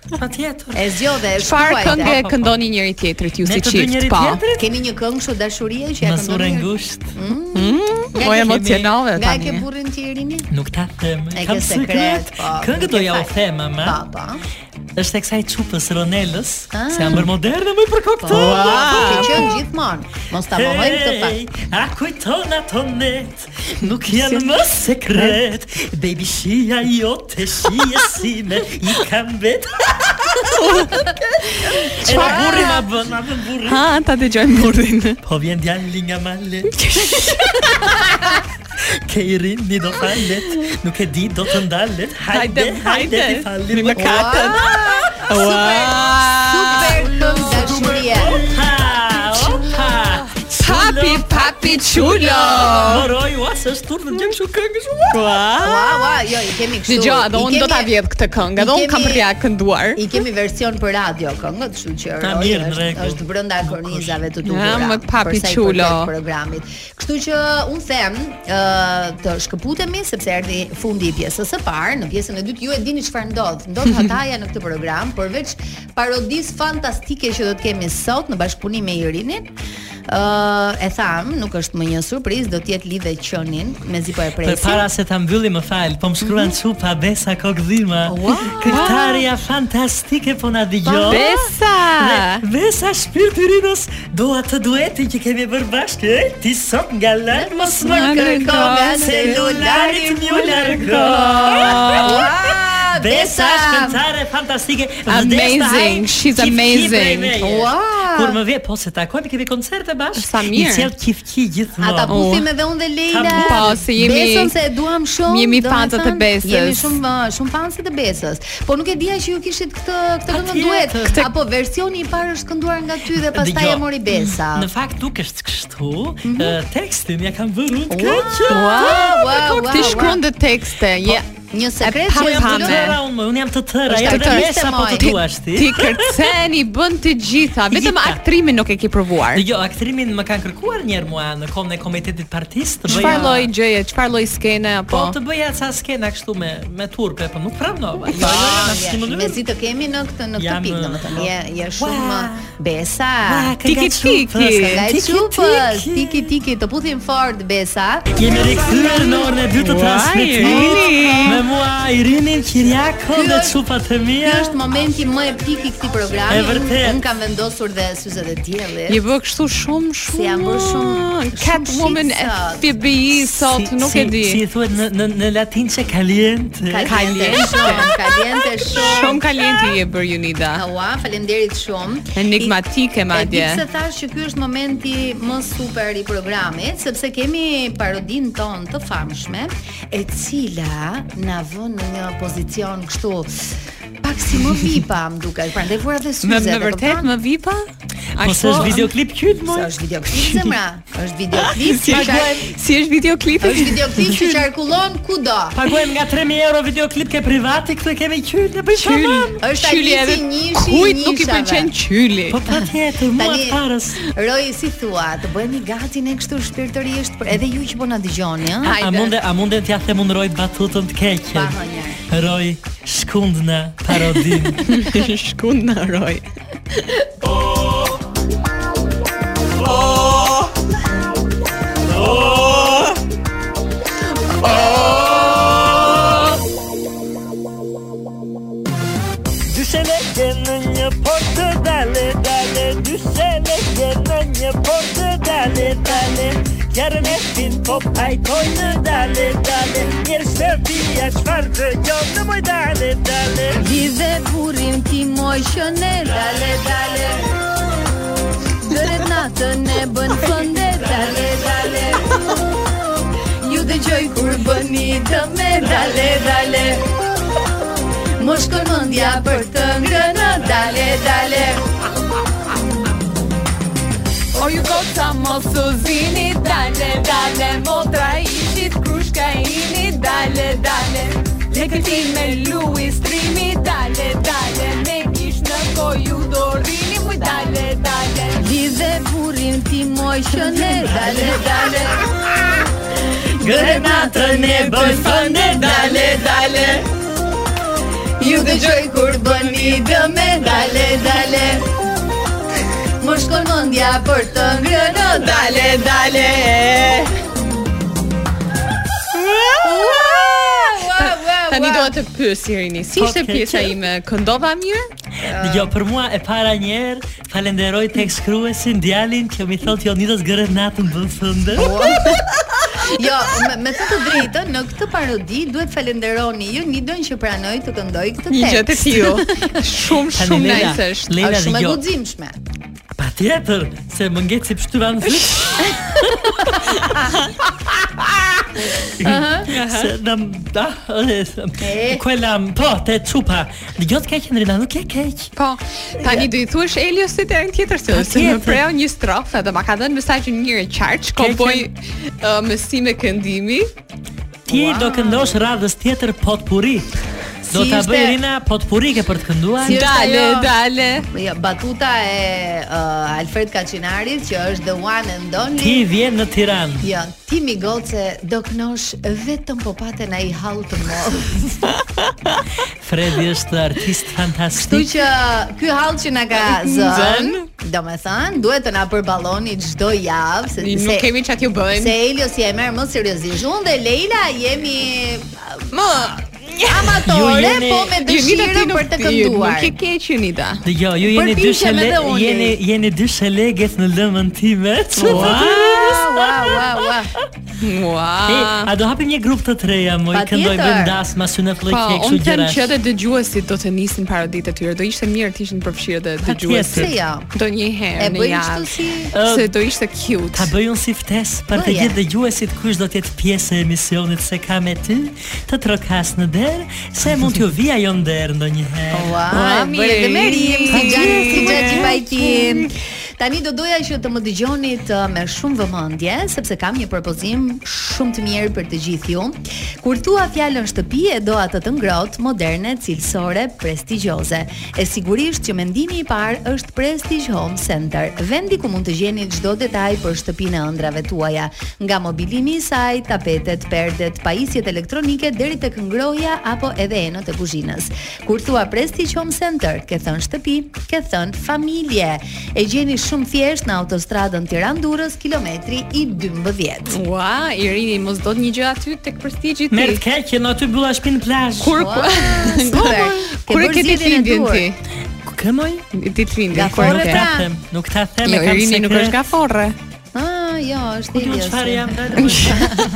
Patjetër.
Ah, E zgjodhe, e
Çfarë
shkruajte.
këngë këndoni njëri tjetrit ju
Ne
si
të dy
çift,
njëri
po?
tjetrit
Keni një këngë kështu dashurie që ja
Më
këndoni?
surë ngushtë
Mm.
Po emocionove
Nga e ke
tani.
burrin ti Erini?
Nuk ta them
E
eh? Kam
ke sekret, po.
Këngët do ja u them eh, ama
Pa, pa.
është e kësaj çupës Ronelës
Ah.
Se jam bërë moderne më i për kokë
Po ke qenë gjithmonë. Mos ta mohojmë këtë fakt.
a kujton ato net Nuk janë më sekret Baby shia jote shia sime I kam vetë Qa burri ma bën, ma bën burri
Ha, ta dëgjojmë burrin.
Po vjen djali nga male Ke i rini do falet Nuk e di do të ndalet Hajde,
Hajde,
hajde,
hajde.
ti falim
Me katën.
Ah, Super këngë dashurie.
Opa, opa
Papi, papi çulo.
Moroj, ua, se është turnë në gjemë shu këngë shumë
Ua.
Ua, ua, jo, i kemi kështu.
Dëgjoj,
i
edhe unë do
kemi-
ta vjedh këtë këngë, edhe
i
unë kam
kemi-
për ja kënduar.
I kemi version për radio këngët, kështu që
Ta
Roy
mirë, në
është
rregull.
është brenda kornizave të duhura.
Ja, më të papi
përsa i
qulo.
përket programit. Kështu që un them ë të shkëputemi sepse erdhi fundi i pjesës së parë. Në pjesën e dytë ju e dini çfarë ndodh. Ndodh hataja në këtë program, përveç parodis fantastike që do të kemi sot në bashkëpunim me Irinin. Ë e tham, nuk është më një surprizë, do të jetë lidhe qenin, mezi po e
Për
presim.
para se ta mbylli më fal, po më shkruan çupa besa kokdhima.
Ua!
Këngëtarja fantastike po na dëgjon.
Besa!
Dhe Besa shpirti i Rinës, dua të duetin që kemi bërë bashkë, e, ti sot nga lart mos më
Më
kërko,
kërko,
celularit më largo.
Ua,
Besa është këngëtare fantastike. vdes ta
Amazing,
hajmë
she's
qif-qif
amazing.
prej meje.
Ua!
Kur më vjen po se takojmë kemi koncerte bashkë.
Sa mirë.
I sjell kifki
A ta
gjithmonë.
puthim edhe unë dhe Leila.
Ta puthim.
Po, se jemi-
Besën se e duam shumë.
jemi
do me
fansat e
thënë,
Besës.
Jemi shumë uh, shumë fansat e Besës. Po nuk e dija që ju kishit këtë këtë këngë
Patjetër.
duet. Apo versioni i parë është kënduar nga ty dhe pastaj
Dëgjo,
e mori Besa.
Në fakt nuk është kështu,
Mhm.
eh, tekstin ja kam vënë unë
Ua,
kaq.
ua, ua, ua,
Ti
ua.
shkruan dhe tekste. Je
Një sekret
pa
që
Jam të
Pane.
tëra unë, unë jam të tëra,
Është
jam të
aktriste
mesa po të
moj.
duash ti.
ti kërcen, i bën të gjitha, vetëm
Gjitha.
aktrimin nuk e ke provuar.
Jo, aktrimin më kanë kërkuar njerë mua në kohën e komitetit partisë të
Çfarë lloj gjëje, çfarë lloj skene
Po
apo?
të bëja ca skena kështu me me turpe, po nuk pranova. Jo, jo, jo, në asnjë mënyrë.
Mezi të kemi në këtë në këtë
Jam, uh,
pikë domethënë. Je je shumë
Ua.
uh, Besa.
Ua, kënga
Tiki,
çupës,
tiki.
kënga
Nga e
tiki,
çupës,
tiki.
tiki tiki, të puthim fort Besa.
Jemi rikthyer në orën e dytë të
Ua,
transmetimit
Irini.
me mua Irinin Kiriako
Ky
dhe
është-
çupat e
Ky
mia.
është momenti më epik i këtij programi.
E vërtet.
Un kam vendosur dhe syzet e diellit.
Je bë kështu shumë shumë.
jam bërë shumë- shumë
Catwoman
shit sot.
FBI sot,
Si-
nuk
si-
e di.
Si i thuhet në në në latin se caliente.
Kaliente shumë, kaliente
Shumë
shumë.
kalenti je bër Junida.
Ua, faleminderit shumë.
Enigmatike
E di
madje.
pse thash që ky është momenti më super i programit, sepse kemi parodin ton të famshme, e cila na vën në një pozicion kështu pak si më vipa, më duket. Prandaj vura dhe
Më
syze.
më vërtet më vipa? Aq
Po se është videoklip kyt
Se
moj.
është videoklip zemra, është videoklip
Si
që
është
qark-
si është videoklipi?
është videoklip që qarkullon kudo.
Paguajmë nga 3000 euro videoklip ke privati, këtë kemi kyt, ne bëj
Qyl.
shamam.
Është
Qyli
Alisi
edhe
Nishi i
kujt nuk i
nishave.
pëlqen qyli.
Po patjetër, mua
Tani-
të parës.
Roji si thua, të bëhemi gati ne kështu shpirtërisht, por edhe ju që po na dëgjoni, ëh.
A
Hajde.
munde, a munde t'ja them unë rojt batutën të
Pa
keqen?
hënjer.
Roj, shkund në parodin.
Po,
Shkun në roj.
Dyshele ke në një port të dale, dale Dyshele ke në një port të dale, dale Kjerën e fin po pajtoj në dale, dale Njerë shtëpia qfar të gjonë në moj dale, dale
Lidhe burim ti moj shëne Dale, dale Dërët natën e bën fënde Dale, dale Ju dhe gjoj kur bëni dëme Dale, dale Më shkon mendja për të ngrënë Dale, dale
O ju kota mos u zini Dale, dale, motra ishit Krushka ini, dale, dale Lekëti me Louis Trimi Dale, dale, me kish në koju Dorini muj, dale, dale
Lidhe burim ti moj shëne Dale, dale Gërë natën e bën fënde Dale, dale Ju dëgjoj kur bëni dëme Dale, dale Më shkon mendja për të ngrënë Dale, dale
Tani do të pyes Irini, si
Po,
ishte
ke
pjesa
qenë.
ime? Këndova mirë?
Jo, për mua e para njerë Falenderoj tek shkruesin djalin që mi thot jo nitës gërët natën bën fëndë
Jo, me, me të të drejtën, në këtë parodi duhet falenderoni ju Nidon që pranoi të këndoj këtë tekst.
Një gjë të tillë. Shumë shumë nice është.
Leila
Është shumë
dhe
e
jo
guximshme.
Pa tjetër, se më ngetë si pështyra në fryt. Se në da,
E.
kuelam, po, te qupa Dëgjot keq, Enrina, nuk e keq
Po, tani do i thuash Eliosit edhe një tjetër se ose
Patjetër.
më preu një strofë dhe ma ka dhënë mesazhin mirë qartë, shkopoj uh, mësime këndimi.
Ti do këndosh radhës tjetër potpuri Do
Si
ta
ishte-
bëj Irina potpuri ke për të kënduar
Si- është
Dale,
ajo?
dale.
Jo, batuta e uh, Alfred Kaçinarit që është the one and
Ti
only.
vjen në Tiran
Jo, ti mi goce do knosh vetëm po paten ai hall të madh.
Fredi është artist
Kështu
fantastik
që ky hall që na ka zën, domethënë duhet të na përballoni çdo javë se
Nuk kemi çka t'ju
se
bëjmë.
Elios je merr më seriozisht. Unë dhe Leila jemi
Më
amatore,
Ju jeni-
po me dëshirë për të kënduar.
Nuk e keq Unida.
Dëgjoj, ju jo, jeni dy
Përpiqem
shele,
edhe unë.
jeni jeni dy sheleget në lëmën time.
Wow, wow, wow, wow.
E,
Ua.
a do hapim një grup të treja, moj,
Patjetër.
këndoj bëjmë dasma, ma syne
Po,
flëjke, kështu
unë them
gjëra.
që edhe dëgjuesit do të nisin paraditë e tyre. Do ishte mirë të ishin përfshirë dhe
Se
dëgjuesit.
jo.
Do një herë
E
në
bëjmë
javë.
kështu si
Se do ishte cute.
Ta bëj unë si ftes për të
Bëje.
gjithë dëgjuesit kush do të jetë pjesë e emisionit se ka me ty, të trokas në derë, se mund t'ju vi ajo në derë ndonjëherë.
Ua,
mirë.
bëre dhe merim, si gjatë si
Mirë.
gjatë i pajkim. Tani do doja që të më dëgjonit uh, me shumë vëmendje, sepse kam një propozim shumë të mirë për të gjithë ju. Kur thua fjalën shtëpi e do atë të ngrohtë, moderne, cilësore, prestigjioze. E sigurisht që mendimi i parë është Prestige Home Center, vendi ku mund të gjeni çdo detaj për shtëpinë e ëndrave tuaja, nga mobilimi i saj, tapetet, perdet, pajisjet elektronike deri tek ngrohja apo edhe enët e kuzhinës. Kur thua Prestige Home Center, ke thënë shtëpi, ke thënë familje. E gjeni shumë thjesht në autostradën Tiranë-Durrës, kilometri i 12.
Ua, Irini, mos do të një gjë aty tek prestigji ti.
Merë të keqe, në aty bulla shpinë plazh.
Kur
Ua, super. Ke
kur e
bërë
ke ditë
zgjedhjen e
lindjen
dur.
ti?
këmoj?
Ditë lindjen.
Nga forre
Nuk
pra.
ta them, nuk ta them,
Jo,
e kam
Irini nuk
sekret.
është ka forre.
Ah, jo, është
Unë
Elios.
çfarë jam dalë?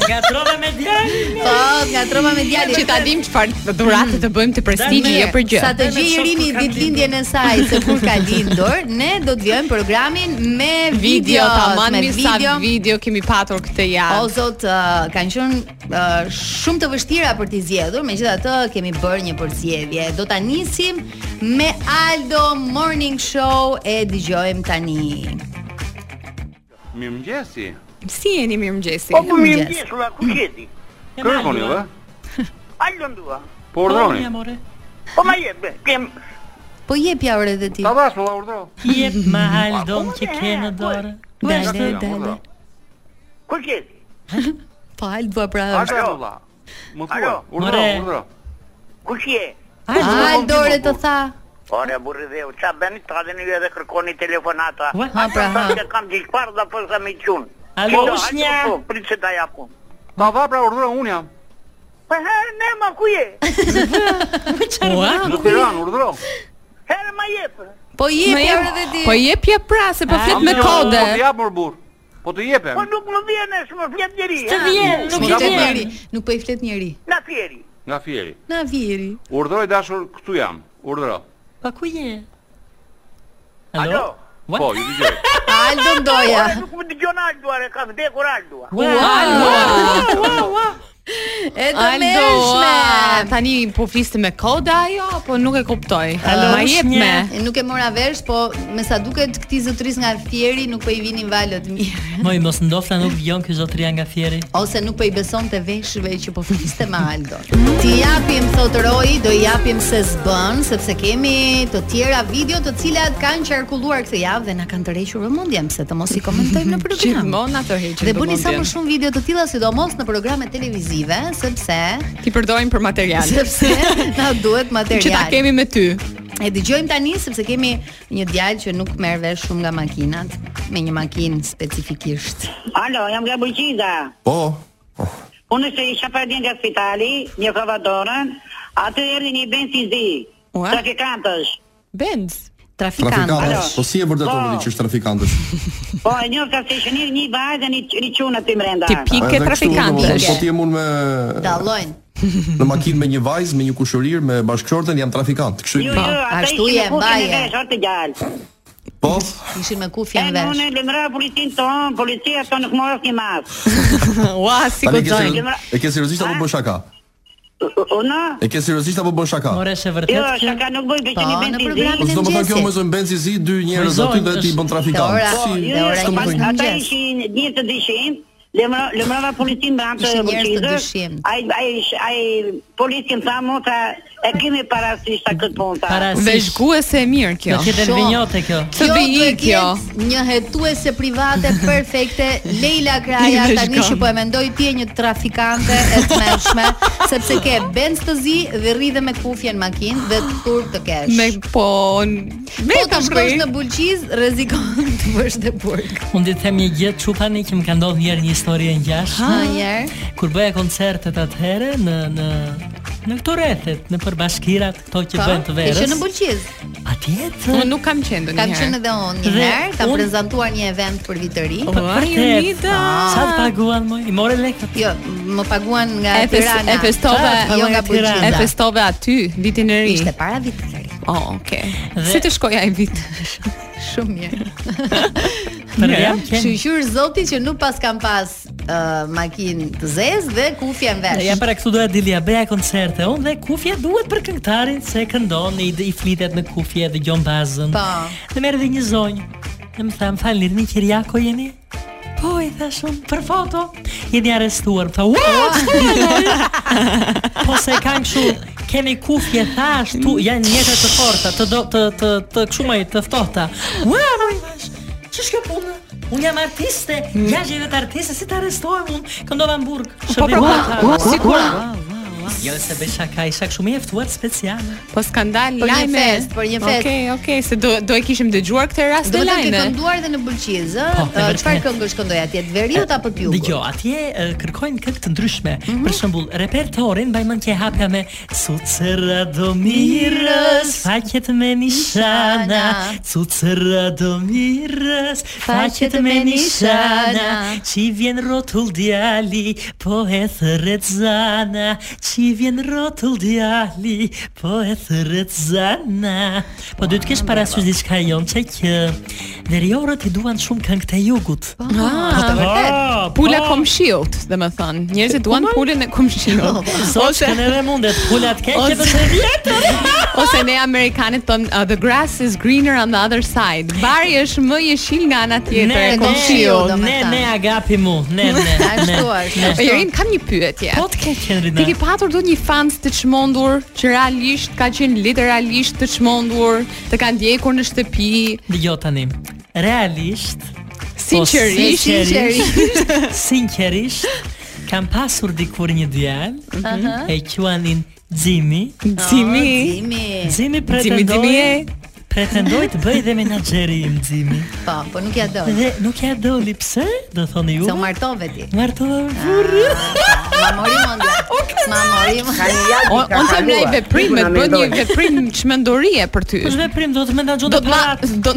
Gatrove me djalin.
Po, nga troma me djalin.
Që ta dim çfarë dhuratë të bëjmë të prestigji
Dame,
e për gjë.
Mm. Sa të
Bëjmë
gjej
shok
Irini
kur ka
ditëlindjen e saj se kur ka lindur, ne do të vijojmë programin me
Video,
video,
tamam
me
mi sa video kemi patur këtë
O
javë.
zot, uh, kanë qenë uh, shumë të vështira për t'i zgjedhur, megjithatë kemi bërë një përzgjedhje. Do ta nisim me Aldo Morning Show e dëgjojmë tani.
Mirëmëngjesi.
Si jeni mirëmëngjesi?
Po mirë.
Shkruva ku gjeti.
Kërkoni vë?
Alë ndua.
Po
Ordoni.
urdhroni.
Amore.
Po ma jep, kem
Po jep ja orë edhe ti.
Ta dash më dha urdhro.
Jep ma haldon që ke në dorë. Dale,
Jam,
dale.
urdhro.
ku gjeti.
Po Aldo pra.
Ardo valla. Më thua,
Alo.
urdhro,
More.
urdhro.
Ku je?
Aldo orë të tha.
Ora burri dheu, qa bëni të adeni ju edhe kërkoni telefonata.
Ua.
Ha pra ha.
Sa që kam gjikë parë dhe për sa me qunë.
Alo,
Qo,
ushnja.
Po, prit që ta japun.
Ta dha pra urdhro un jam.
Po herë ne ma ku je?
Ua,
Në Tiranë urdhro.
Herë ma jep.
Po jep
Ma
ja
jep-
orë edhe Eh, ti.
Po jepja pra se po flet me
Am-
kode.
Po të jap më burr. Po të jepem.
Po nuk më vjen e shumë flet njeri.
Të
ha?
vjen, nuk
Nuk
të
po i flet
vjen.
njëri, nuk po i flet njëri.
Na fjeri.
Nga fieri.
Na viri.
Urdhroj dashur, këtu jam. Urdhro.
Pa ku je?
Alo.
Alo? What?
Po, ju dëgjoj.
Aldo ndoja.
Ora nuk më dëgjon Alduar, e ka vdekur Aldua.
Ua,
E të
Aldo, a,
mërshme.
tani po fliste me koda ajo apo nuk e kuptoj?
Alo,
Ma jep
shnje.
me.
E, Nuk e mora vesh, po me sa duket këtij zotris nga fieri nuk po i vinin valët mirë.
Moj mos ndofta nuk vjen ky zotria nga fieri.
Ose nuk po i beson të veshëve që po fliste me Aldo. Ti japim thot Roy, do i japim se s'bën, sepse kemi të tjera video të cilat kanë qarkulluar këtë javë dhe na kanë tërhequr vëmendjen, pse të mos i komentojmë në program.
Gjithmonë ato heqin.
Dhe bëni sa më
vëmendjen.
shumë video të tilla, sidomos në programe televizive, sepse
Ti përdorim për material.
sepse na duhet material.
Që ta kemi me ty.
E dëgjojmë tani sepse kemi një djalë që nuk merr vesh shumë nga makinat, me një makinë specifikisht.
Alo, jam nga Bujqiza.
Po,
Unë se isha për djenë nga spitali, një kavadorën, atë erdi një benzizi,
Ua?
trafikantësh.
Benz.
Trafikant.
trafikantës. Po si e vërteton
Po.
që është trafikantës?
Po, e njërë ka se shënir një vajzë, një, një qunë aty mrenda.
Ti
A, edhe
pike
kështu, domethënë,
trafikantësh.
Po ti jam unë me
Dallojnë.
në makinë me një vajzë, me një kushërir, me bashkëshorten, jam trafikant. Kështu
Jo,
i
jo, ata ishin
ashtu je,
me kushtin e
mbaje.
vesh, orë të gjallë.
po.
Ishin me
E
kufjen
në
vesh.
unë e lëmra policin tonë, policia tonë nuk morës një masë.
Ua, si
Tani e ke
goxojnë.
seriozisht- e ke seriozisht apo bën shaka?
Unë?
E ke seriozisht apo bën shaka?
More është e
Jo,
vërtet që
shaka nuk bëj
Po,
beqeni
në
benzizi.
programin
Po
e
do të thonë kjo më
mëngjesit.
zon benzizi dy njerëz
Vëzhgoj,
aty dhe ti
është-
bën trafikant.
Ora,
Po,
Si,
dhe
Jo,
ora
s'të
jo,
më
pas
thonë.
ka-
ata
mëngjes.
ishin një të dyshim, lëmra lëmrava policin me anë të
Ishin njerëz të
Bukizës.
dyshim.
Ai ai ai policin tha mo tha e kemi parasysh sa këtë punë tha.
para
Dhe zhguese e mirë
Në
kjo.
tjetër
jo, Shumë.
vinjote kjo.
Të
Kjo
vijë
duhet
kjo.
jetë një hetuese private perfekte Leila Kraja
Ti dhe
tani
shkon.
që po e mendoj ti je një trafikante e tmerrshme sepse ke benz të zi dhe rri dhe me kufje në makinë dhe tur të kesh.
Me po n- me
po
ta
të shkosh
vrej.
në bulqiz rrezikon të bësh depork.
Unë ditë them një gjë çupani që më ka ndodhur një herë një histori e
Një
ngjashme.
herë.
Kur bëja koncertet atëherë në në në këto rrethet, në përbashkirat, këto që
Po,
bëhen të
Ke qenë në
verës.
Bulqiz.
Patjetër.
Unë nuk kam qenë
Kam
ndonjëherë.
qenë edhe unë një
Dhe
herë, kam
unë-
prezantuar një event për vit të ri.
Po,
Ua,
vërtet.
Jonida.
Sa të paguan më? I more lekët.
Jo, më paguan nga
E fes-
Tirana.
e festove-
Ah, jo nga Bulqiza.
E festove aty vitin e ri.
Ishte para vit të ri.
Oh, okay.
Dhe-
Si të shkoi ai vit?
Shumë mirë.
Për jam qenë.
Shqyqyr zoti që nuk pas kam pas uh, makinë të zezë dhe kufje në
Dhe
vesh.
ja para këtu doja dilja bëja koncerte unë dhe kufja duhet për këngëtarin se këndon i, i flitet me kufje dhe gjon bazën.
Po.
Dhe merr dhe një zonjë. Dhe më tha, më falni, një Kiriako jeni? Po, i thash unë, për foto. Jeni arrestuar. Më tha, "Ua, çfarë bëni?" Po se kanë kështu kemi kufje thash tu janë njëta të forta, të do të të të kështu më të ftohta. Ua, po i thash. Ç'është kjo punë? Unë jam artiste, mm. jashtë vetë artiste, si të arrestohem unë? Këndova në burg.
Po
Shërbim
pra,
ata.
sigur.
Wow, wow, wow.
akoma.
Jo se besha ka isha kështu me ftuar speciale.
Po skandal
Për një
lajme.
fest, për një fest.
Okej, okej, se do do e kishim dëgjuar këtë rast
Do
të
të ke
lajme.
kënduar dhe në Bulqiz,
Po,
ë?
e
Ë,
vërtet.
Çfarë këngësh këndoj atje? Të veriut apo të pjugut?
Dëgjoj, atje e, kërkojnë këngë të ndryshme. Për shembull, repertoarin mbajmën që e hapja me Cucera do mirës, faqet me nishana, Cucera do mirës, faqet me nishana, Qi vjen rotull djali, po e thërret zana, Qi vjen rotull djali, po e thërret zana. Po duhet të kesh parasysh diçka jon që që veriorët i duan shumë këngët e jugut.
Ah,
Po,
Pula
po.
komshiut, domethënë. Njerëzit duan pulën e komshiut.
Po,
Sot që neve mundet pulat keqe
Ose-
për të vjetër
Ose ne amerikanët thon uh, the grass is greener on the other side. Bari është më jeshil nga ana tjetër e
Ne, jo,
komshiut.
do
ne,
me
ne,
thënë.
ne agapi mu Ne, ne, ne
Ashtu është.
Po Erin kam një pyetje.
Po të keqe
Ti
Henrina
ke patur do një fans të çmendur që realisht ka qenë literalisht të çmendur, të ka ndjekur në shtëpi,
Dëgjo Jo, tani Realisht po,
sinqerisht.
Sinqerisht Sinqerisht Kam pasur dikur një djal
Mhm.
E quanin Gjimi
Ah, Cimi.
Zimi.
Gjimi
Gjimi, Gjimi e?
pretendoj Pretendoj të bëj dhe menaxheri im Gjimi
Po, po nuk ja doj.
Dhe nuk ja doli pse Do thoni ju
Se u martove ti.
Martova me furrë
Ma mori mendja. Ma mori mendja.
O- Unë them në i veprim, me të bën një veprim çmendorie për ty.
Kush veprim do të menaxhon
Do
të
të ma,
parat?
do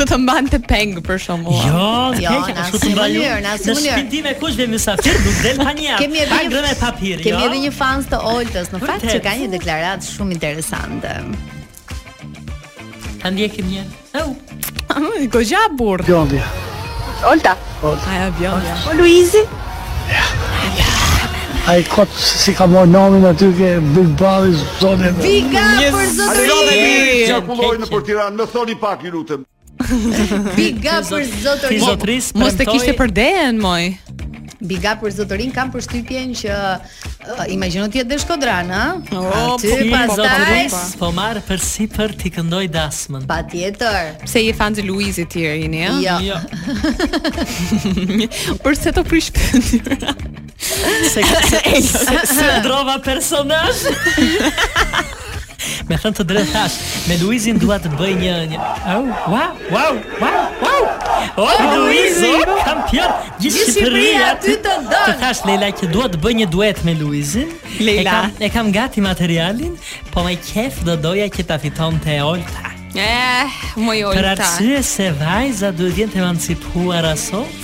do të mbante peng për shembull.
Jo,
Jo,
keq,
në asnjë
ashtu të mbaju.
mënyrë, në asnjë
Në
mënyrë.
shtëpinë time kush vjen mysafir, nuk del pa një.
Kemi edhe
një me papir, jo.
Kemi edhe një fans të Oltës, në fakt që
Vërtet.
ka një deklaratë shumë interesante.
Ta ndjekim një. Au.
Gogja Ah, burr.
Olta,
Aja bjonja.
o Luizi,
Ai kot si ka marrë namin aty ke Big Bobby zonë.
Biga për zotërin.
Qarkulloj në për Tiranë, më thoni pak ju lutem.
Biga për
Ti
zotërin.
zotris,
Mos të kishte
premtoj-
për dehen moj.
Biga për zotërin kam përshtypjen që uh, imagjino ti edhe Shkodran, ë?
O,
Aty
po,
Ti
pastaj
zotris, Oh, po marr për sipër ti këndoj dasmën.
patjetër.
Pse je fan i Luizit ti Erini, ja?
Jo.
Jo,
Përse të prish pëndyra?
se se- se- se ndrova personazh. Me thënë të drejtë thash, me Luizin dua të bëj një një. Au, wow, wow, wow, wow. O Luizi, kampion, gjithë Shqipëria
aty të
Të
don.
thash Leila që dua të bëj një duet me Luizin.
Leila.
E kam, e kam gati materialin, po me qef do doja që ta fitonte Olta.
Eh, moj
Për
olta.
arsye se vajza duhet jenë të emancipuara sot,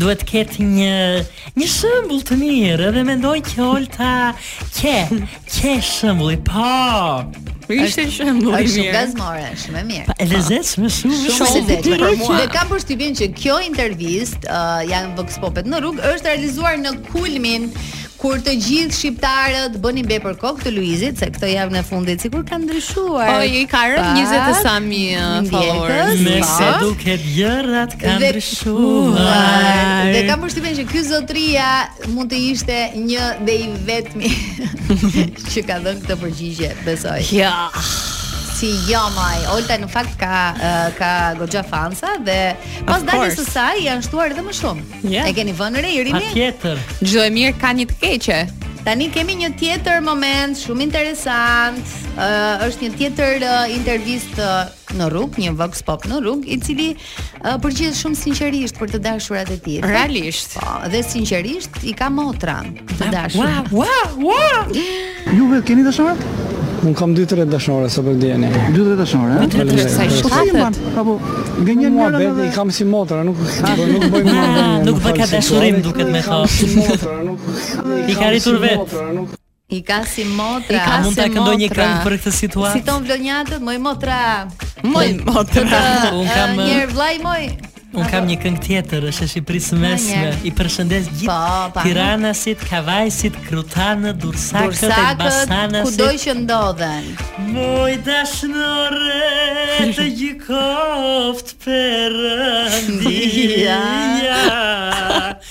duhet ketë një një shembull të mirë, edhe mendoj që Olta ke ke shembulli, po.
Ishte shembull i
Është shumë
mirë.
gazmore, shumë e mirë.
E lezetshme shumë,
Shumë e
ti
lezetshme.
rrëqe.
Dhe kam përshtypjen që kjo intervistë uh, janë Vox Popet në rrugë është realizuar në kulmin kur të gjithë shqiptarët bënin be për kokë të Luizit se këtë javën e fundit sikur ka ndryshuar.
Po i ka rënë
Pak
20 të sa mi uh,
ndjekës,
followers.
Me
Po.
se duket gjërat kanë
Dhe-
ndryshuar.
Dhe kam përshtypjen që ky zotria mund të ishte një dhe i vetmi që ka dhënë këtë përgjigje, besoj.
Ja.
Si jo maj, Olta në fakt ka ë, ka goxha fansa dhe pas
Of
daljes së
course.
saj janë shtuar edhe më shumë.
Ja.
E keni vënë re Irini?
Patjetër.
Çdo e mirë ka një të keqe.
Tani kemi një tjetër moment shumë interesant. Ë, është një tjetër ë, intervistë ë, në rrugë, një vox pop në rrugë, i cili uh, përgjigjet shumë sinqerisht për të dashurat e tij.
Realisht.
Po, dhe sinqerisht i ka motra të
Ah,
dashur.
Wow, wow, wow.
Juve keni dashore? Un kam 2-3 dashore sa po djeni. 2-3 dashore, ëh?
Të Po sa i shkatet.
Apo gënjen nga vetë i kam si motra, nuk nuk bëj më.
Nuk bë ka dashurim duket me to.
Motra, nuk
I ka rritur vet.
I ka si Pra, motra.
I ka
A mund ta
Se
këndoj një
motra.
këngë për këtë situatë?
si ton vlonjatët, moj motra.
Moj po motra.
Un
Ë,
kam
njerë vllai moj.
un kam një këngë tjetër, është e Shqipërisë mesme.
njerë.
I përshëndes
Po, pa.
gjithë Tiranasit, Kavajsit, Krutanët, Dursakët,
Dursakët kudo
Elbasanasit.
që ndodhen.
Moj dashnore të gjykoft perëndia.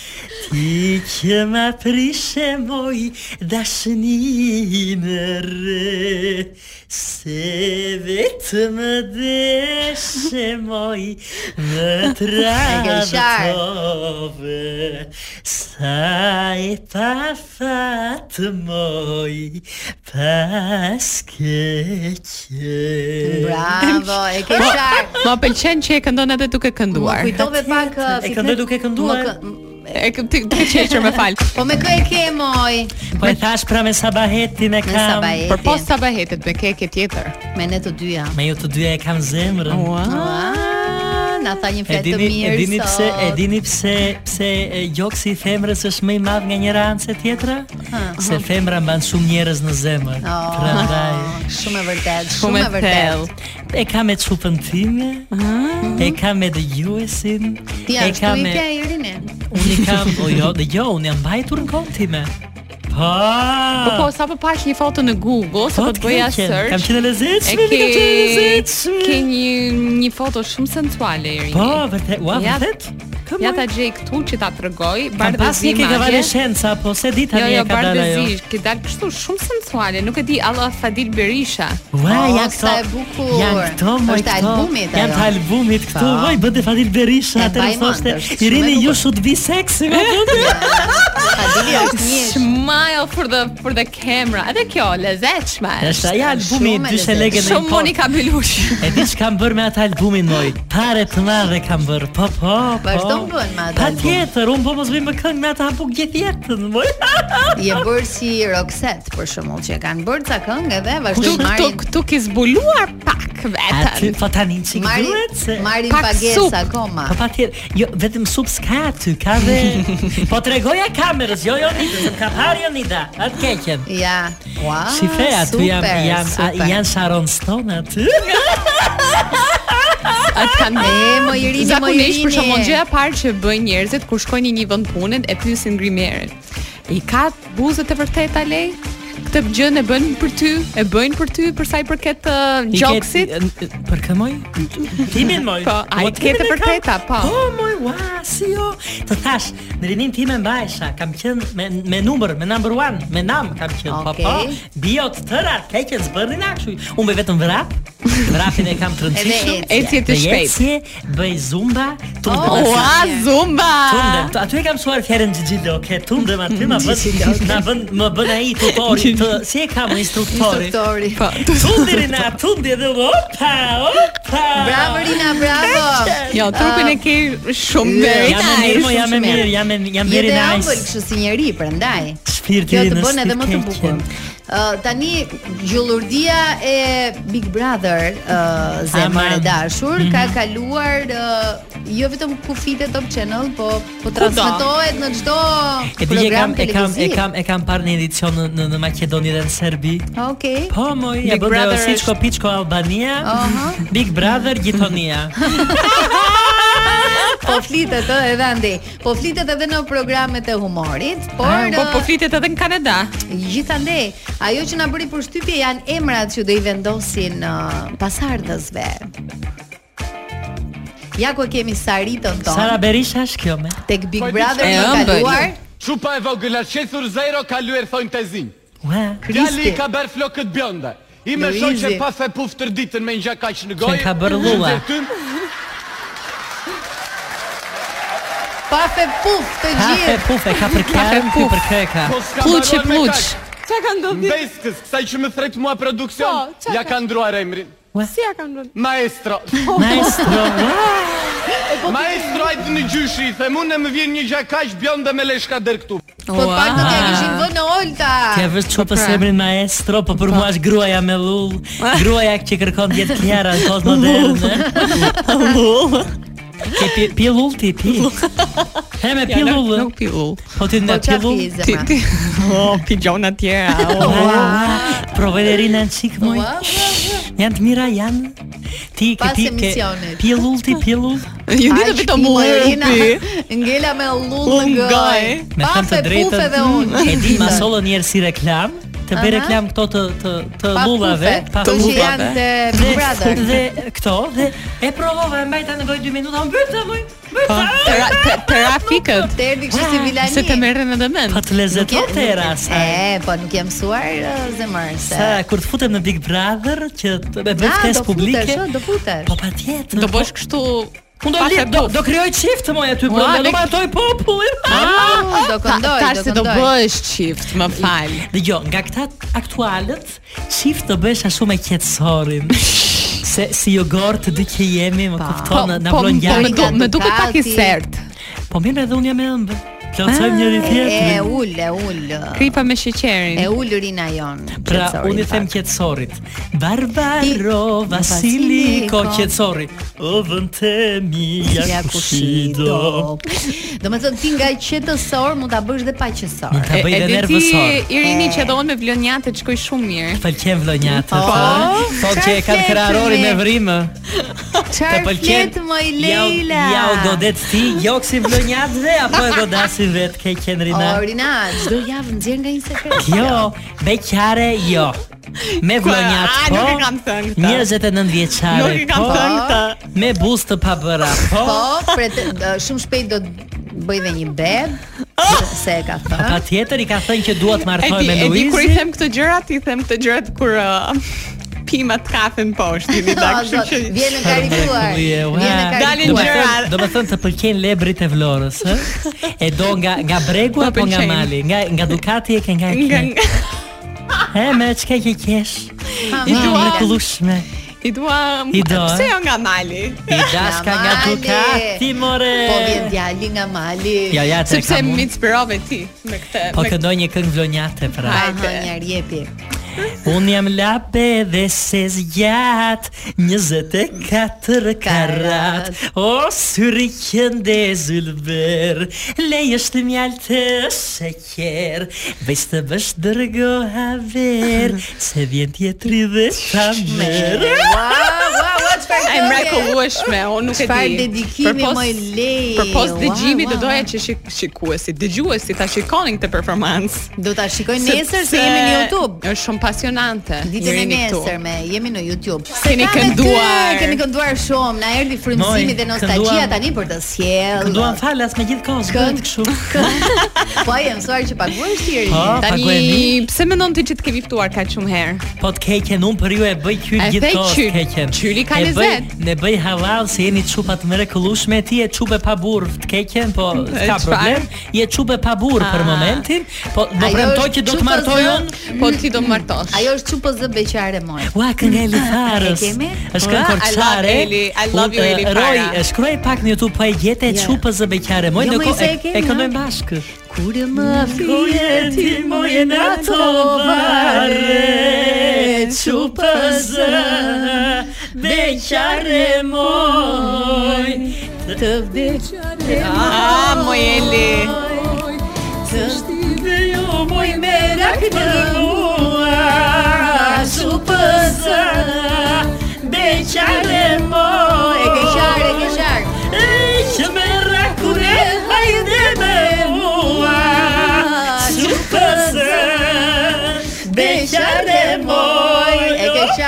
Ti që më prishe moj dashninë re Se vetëm deshe moj më travtove Sa e pa fatë moj pas keqe
Bravo, e
Po,
ke qartë.
Më pëlqen që e këndon edhe duke kënduar.
Më kujtove pak uh,
E këndoj duke kënduar.
Më kë-
E kë- ti- duke qeshur me fal.
Po me kë e ke moj?
Po e thash pra me sabaheti me kam
sabaheti.
Për post sabahetit me keke tjetër.
Me ne të dyja.
Me ju të dyja e kam zemrën
Ua, na tha një
E
fletë të
dini,
mirë
e dini
sot.
pse, e dini pse, pse e, gjoksi i femrës është më i madh nga njëra anë se tjetra? Se femra mban shumë njerëz në zemër.
Oh.
Prandaj
Shumë e vërtet,
Shumë
shumë e
e
vërtet.
e kam me çupën time, e kam me dëgjuesin,
Ti
e
ashtu
kam
i
me
pja i rini.
unë i kam, o jo, dëgjoj, unë jam mbajtur në kohën time. Po.
Po po, sapo pash një foto në Google,
Po,
sapo të bëja
t'keqen.
search.
Kam qenë e lezetshme,
E
mi kam qenë e lezetshme.
Ke një një foto shumë sensuale Irini.
Po, vërtet, ua,
Ja-
vërtet. Kam
Ja ta gjej këtu që ta tregoj,
Kam pas
bardhëzi
një ke
madje.
kavaleshenca, po se di
Jo,
tani
jo,
e ka dalë ajo.
bardhëzi, ke dalë kështu shumë sensuale, nuk e di, Allah Fadil Berisha.
Ua,
O,
ja këto.
sa e bukur.
Janë këto, moj
Është
këto.
albumit
Janë të
ajo.
albumit këto.
Po.
Voj, bënte Fadil Berisha,
E
atë
mbaj
më thoshte,
mend, është shumë e
Irini ju
bukur."
should be sexy, më thonë.
Fadili është një
Smile for the for the camera. Edhe kjo lezetshme.
Është ja albumi
shumë e
40 legë në
Shumë
po.
Monika Belushi.
E di çka më bër me atë albumin moj. Pare të madhe kam bër. Po, po, po.
Vazhdon bën me atë album.
Patjetër, unë po mos vim me këngë me atë hapuk gjithë jetën, moj.
Je bërë si Roxette për shembull që kanë bërë ca këngë edhe
Këtu
vazhdojnë
këtu
marrin
këtu ke zbuluar pak
Aty
veten.
po tani çik duhet se
marrin marrin
Pak sup.
pagesa akoma.
Po patjetër, jo vetëm sup s'ka aty, ka dhe po tregoja kamerës, jo jo nida, se më ka parë jo nida, atë keqen.
Ja. Ua.
Shife, aty jam,
Ah, super,
jam, a-
super.
janë Sharon Stone aty.
Atë kanë
E, mo Irini, mo
Zakonisht për
Irini.
shkakun gjëja e parë që bëjnë njerëzit kur shkojnë në një vend pune e pyesin grimierin. I ka buzët e vërteta lej? Këtë gjën e bënë për ty, e bëjnë për ty për sa i përket uh,
I ke-
gjoksit.
n- Për kë moj? Timin moj.
Po, a i
Po, timin
ke të
e kam.
vërteta, po.
Po moj, ua, si jo. Të thash, në rinin tim e mbajsha, kam qenë me me numër, me number one, me nam kam qenë. Po
Okej.
po. Bio të tëra, keqen zbërrin akshuj. Unë bëj vetëm vrap. Vrapin e kam trëndësishëm.
Edhe
ecje. Ecje të shpejt.
Ecje, bëj zumba,
Oh,
tundem.
ua, zumba!
Tundem, aty e kam mësuar fjalën xhixhilo, ke tundem aty ma bën na bën më bën ai tutori të si e kam instruktori.
Instruktori.
Po,
Tundi Rina, tundi edhe opa, opa.
Bravo Rina, bravo.
jo, trupin e
Ah.
ke shumë
Ë,
very
Jam e mirë, mo,
nice.
jam e mirë, jam e jam
Je
very
dhe ëmbël
nice.
kështu si njeri, prandaj.
Shpirti
Kjo të
Rinës
bën edhe më të
keqen.
bukur. Uh, tani gjullurdia e Big Brother uh, zemër e
Aman.
dashur
Mhm.
ka kaluar uh, jo vetëm kufitet Top Channel, po po transmetohet në çdo
E di e
program
kam, e kam, e
televiziv.
kam, e kam parë një edicion në, në, në Maqedoni dhe në Serbi.
Okej.
Po, moj, ja
Big
bën ajo
Brother
Siçko Piçko Albania,
Aha.
Big Brother Gjitonia.
Po flitet ë edhe andej. Po flitet edhe në programet e humorit, por
Ah,
Po po
uh,
flitet edhe në Kanada.
Gjithandej, ajo që na bëri përshtypje janë emrat që do i vendosin uh, pasardhësve. Ja ku e kemi Saritën tonë
Sara Berisha është kjo me.
tek Big
Po,
Brother
E
i
ëmbël.
kaluar.
Shupa e vogël atë qethur zero ka luer thonjë të zinj.
Ua.
Djali
Kristi.
i ka bërë flokët bjonda. I me
Luizi.
shoj që pas e puf tër ditën me një kaq në gojë.
Që ka bërë lula.
zyrtym,
Pa fe puf të
Kafe
gjithë.
pufe, ka për
Kafe
kërë, ky
puf.
për kërë ka.
po s'ka
Pluç e
mbaruar me
pluç.
kaq.
Çka ka ndodhur?
Beskës, kësaj që më thret mua produksion,
Po, çka
ja
ka-
ka ndruar emrin.
Si ja ka ndodhur?
Maestro.
Maestro, ua.
Maestro ai në gjyshi, i them unë më vjen një gjakaq bjonda me leshka der këtu.
Po të pak të ja kishin vënë në Olta.
Ti e vësh çupës
pra.
emrin maestro, po për mua është gruaja me lull, gruaja që kërkon të jetë Kiara në kohë moderne. Lull. Ti pi, pi lull ti pi. He me pi lull.
Nuk pillull.
Po ti
Po
në pi
çfarë
lull.
fizë,
Ti
ma?
ti. Oh, pigjona tjera.
Oh, Provoj dhe rinë në qikë moj
Ua,
Janë të mira janë Ti ke
Pas
ti ke
emisionit.
Pi lull ti pi lull
Ju ditë
Aq
vetëm
pi, Marina,
upi.
Ngela me lull
Unë
në
gaj.
gojë.
Me
Pa
thënë të
fe puf
drejtën,
edhe unë.
E di
gjithë
ma
ditën.
solo njerë si reklam Të bëj
Aha.
reklam këto të, të, të
Pa
lullave
pufe, të që janë të Big Brother.
Dhe këto dhe e provova e mbajta në gojë 2 minuta, unë bëta moj.
Tera- te- Terafikët.
Të erdhi kështu si vilani.
Se të merren edhe mend.
Po të lezeton të era asaj.
E, po nuk jam mësuar ë, zemër se.
Sa kur të futem në Big Brother që të me bëj
Na,
ftesë publike,
ë, do futesh.
po patjetër.
Do bësh kështu
Unë do
Pas e
lidh, do,
buf.
do krijoj çift më
Ua,
aty brenda,
ne-
do martoj popullin.
Ah, do këndoj,
Tash
do
se do
këndoj.
bësh çift, më fal.
Dëgjoj, nga këta aktualët, çift do bësh ashtu me qetësorin. Se si jogor të dy që jemi, më
Ah.
kupton, na
po,
blon
më
gjatë.
du- më duket pak i
Ducati.
sert.
Po mirë, edhe unë jam e ëmbël. Plotësojmë njëri
E
tjetrin.
ul, e ul.
Kripa me sheqerin.
E ul rina jon.
Pra,
qetësori,
unë i
në
them
fakt.
qetësorit. Barbaro
Vasiliko.
Vasiliko qetësori. O vëntemi ja kushido.
Do të thënë ti nga qetësor mund ta bësh dhe pa qetësor.
Mund ta
E
bëj
e
dhe
di ti
nervësor.
Irini që do unë me vlonjatë të shkoj shumë mirë.
Pëlqen vlonjatët.
Po,
ë? Thotë që e kanë
çfarë
krarorin
fletëmi?
me vrimë. Të
Çfarë
pëlqen.
flet më i
Ja u-
Leila?
Ja u godet ti, joksi vlonjatëve apo e godasi vet ke qendrina?
O Rina, çdo javë nxjerr nga një sekret.
Jo, beqare jo. Me vlonjat
a,
po.
nuk e kam thënë këtë.
29 vjeçare.
Nuk e kam
po,
thënë
Me buzë të pabëra po.
Po, pret ë, shumë shpejt do të bëj dhe një beb, se- se e ka
Po
thënë.
patjetër i ka thënë që duhet
E
martohem
di,
me
e di kur i
Luizin.
them këto gjërat, i them këto gjërat kur uh, pima të kafen poshtë, i
O,
dak, kështu
zot,
që
Vjen e karikuar.
Mrekulli e, ua.
Vjen e
Dalin
karikuar.
gjëra.
Do të thënë të pëlqen lebrit e Vlorës, ë? E do nga nga bregu
Më
apo nga
pëlqen.
mali? Nga nga Ducati e ke nga e
nga
ke. E me çka ke kesh?
mami.
I mrekullushme.
i dua
I do,
pse
eh?
jo nga mali?
I dashka nga
mali.
Ducati more.
Po vjen djali nga mali.
Ja ja të
Sepse
kam.
më
unë.
inspirove ti me këtë.
Po
me-
këndoj një këngë vlonjate pra.
Hajde, një rjepi.
Unë jam lape dhe se zgjat 24 karat O syri kënde zulber Lej është mjallë të sheker Vejs të bësh dërgo haver Se vjen tjetri dhe ta mërë
Ua, ua, ua, çfarë
Ai
kjo je?
mrekullueshme, unë nuk e di.
Çfarë dedikimi
Përpos-
më i lej.
Përpos
Ua,
dëgjimit do
ua,
doja
ua.
që shik shikuesi, dëgjuesi ta shikonin këtë performancë.
Do ta shikoj nesër se jemi në YouTube.
Është shumë pasionante.
Ditën e
jeni këtu.
nesër me jemi në YouTube. Se
Keni
ka me
kënduar.
ty, Kemi kënduar shumë. Na erdhi frymëzimi
Moj,
dhe nostalgjia
kënduam-
tani për të sjellë.
Kënduam falas me gjithë kohës
Kënd-
Kënd këshu
Po ai mësuar që paguhesh ti eri.
Po,
Tani,
pagu e mi.
pse mendon ti që të kemi ftuar kaq shumë herë?
Po të keqen unë për ju e
E
bëj qyri gjithë
thej
kohës
qyri.
keqen
Qyri ka
E bëj-
lezet.
Ne bëj halal se jeni çupat mrekullueshme ti e çupe pa burr të keqen po s'ka
çfarë?
problem je çupe pa burr për
Ah.
momentin po do
Ajo
premtoj
është
që do të
çupa
martoj
zë-
unë
Po ti do martosh.
Ajo është çupo zë beqare moj.
Ua, kënga e Lifarës.
E kemi?
Është
Mm. Ua,
këngë
I love
korçare.
Eli, I love you,
Unë,
Eli Jo.
e, Roj,
Fara.
e shkruaj pak në YouTube pa e gjete e
Ja.
çupës zë beqare. Moj
Jo,
në
më
ko-
se e
e, e
kemi,
këndojmë
ha?
bashkë.
Kur më fije ti moje na to
bare, çupës beqare moj.
të vdeqare
Ah, mojeli.
të shtive jo moj merak në mua Shupës
beqare moj.
E gëshar, e gëshar
Që me rakure hajde me mua Supëse Beqare moj
E gëshar, e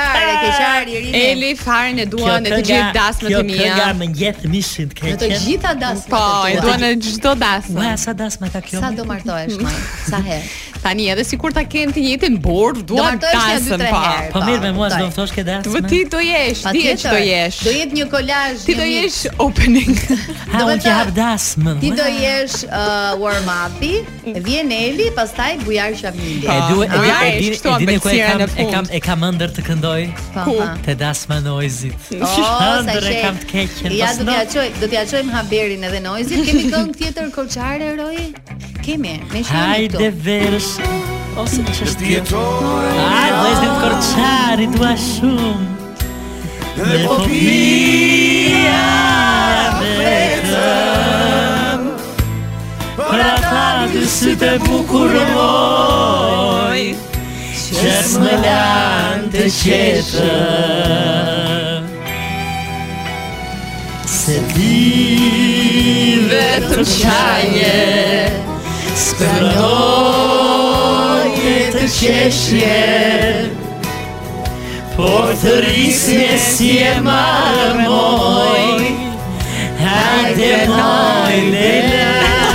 gëshar Irine
Eli Farën e dua në të gjithë dasmat e
Kjo kënga
mia.
më ngjetë mishin të
Në të
keqen
gjitha dasmat
Po,
e
e
tua.
dua në çdo dasmë.
Ua, sa dasma ka kjo?
Sa do martohesh moj, sa herë
Tani edhe sikur ta kem të njëjtin burr,
Do
dua
martohesh një dy
dasëm
tre
pa.
herë
Po mirë me mua
martoj.
s'do më thosh ke dasma.
Po ti do jesh, di që
Patjetër.
do jesh.
Do jetë një kolazh
Ti
një
do
mix.
jesh opening.
ha
do
unë
të-
që hap dasmën.
Ti do
Ua.
jesh uh, warm upi, vjen Eli, pastaj bujar Shamili.
E du e di
Ua,
e di
ishtë
e di ku e
ambëlsira
kam
në
e
fund.
kam e kam ëndër të këndoj.
Pa,
ku?
pa.
Te dasma noizit.
O, sa
Ëndër e
shef.
kam të keqen.
Ja
pas
do t'ja
no-
çoj, do t'ja çojm haberin edhe Noizit. Kemi këngë tjetër koçare Roy? Kemi, me shihni
Hajde
këtu.
verësh Ose që është tjetë Aj, vëzit korçari dua shumë Dhe po pia vetëm Për ata dy sytë e bukuroj Që s'më lanë të qeshëm Se ti vetëm qaje Skanoj të qeshje Por të rrisje si e marmoj Hajde Lejla,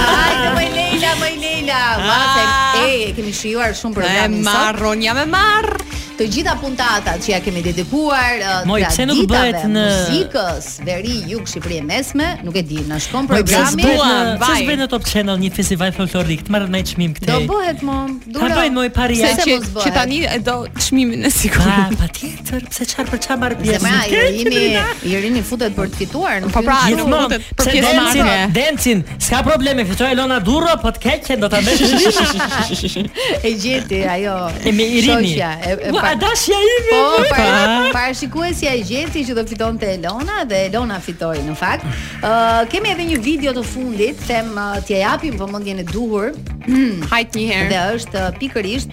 Hajde më Leila, më Leila. Ma se e kemi shijuar shumë programin sot.
marron, jam e marr.
Të gjitha puntatat që ja kemi dedikuar uh,
Moj, pse nuk
traditave,
bëhet në-
muzikës, veri, jug, Shqipëri e mesme, nuk e di, na shkon
Po pse
programi.
s'bën, pse s'bën në Top Channel një festival folklorik, të marrën me çmim këtej.
Do bëhet mom,
Ta
duro.
bëjnë, moj, pari
Pse
jashtë.
se mos bëhet?
Që tani e do çmimin e
Pa,
sigurt.
patjetër, pse çfarë për çfarë marr
Se
pjesë?
më
Ke,
ai jemi
Katrina?
i rini futet për të fituar, nuk
Po pra,
hyn-
nuk
Gjithmonë,
mundet për
pse
pjesë
dancin,
marrë.
dancin, s'ka probleme, fitoi Elona Durro, po të keqen do ta bësh.
e gjeti ajo.
E me Irini.
shoqja, e, e
Ua,
pa-
a dashja ime.
Po,
Po,
para parashikuesja e gjeti që do fitonte Elona dhe Elona fitoi në fakt. Ë kemi edhe një video të fundit, them uh, t'ja japim vëmendjen e duhur
Hajt një herë.
dhe është uh, pikërisht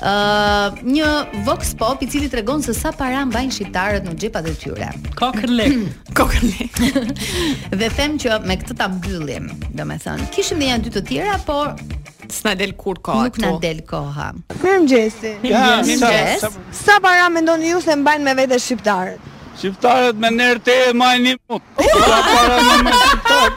ë një vox pop i cili tregon se sa para mbajnë shqiptarët në xhepat e tyre.
kokën lek.
Kokën le.
Dhe them që me këtë ta mbyllim, domethënë. Kishim dhe janë dy të tjera, por
S'na del kur ka
nuk na del koha.
Mirë mëgjesi
Mirëmëngjes.
Sa para mendoni ju se mbajnë me vete shqiptarët?
Shqiptarët me nërë te e majnë një mut. Sa para me me shqiptarët.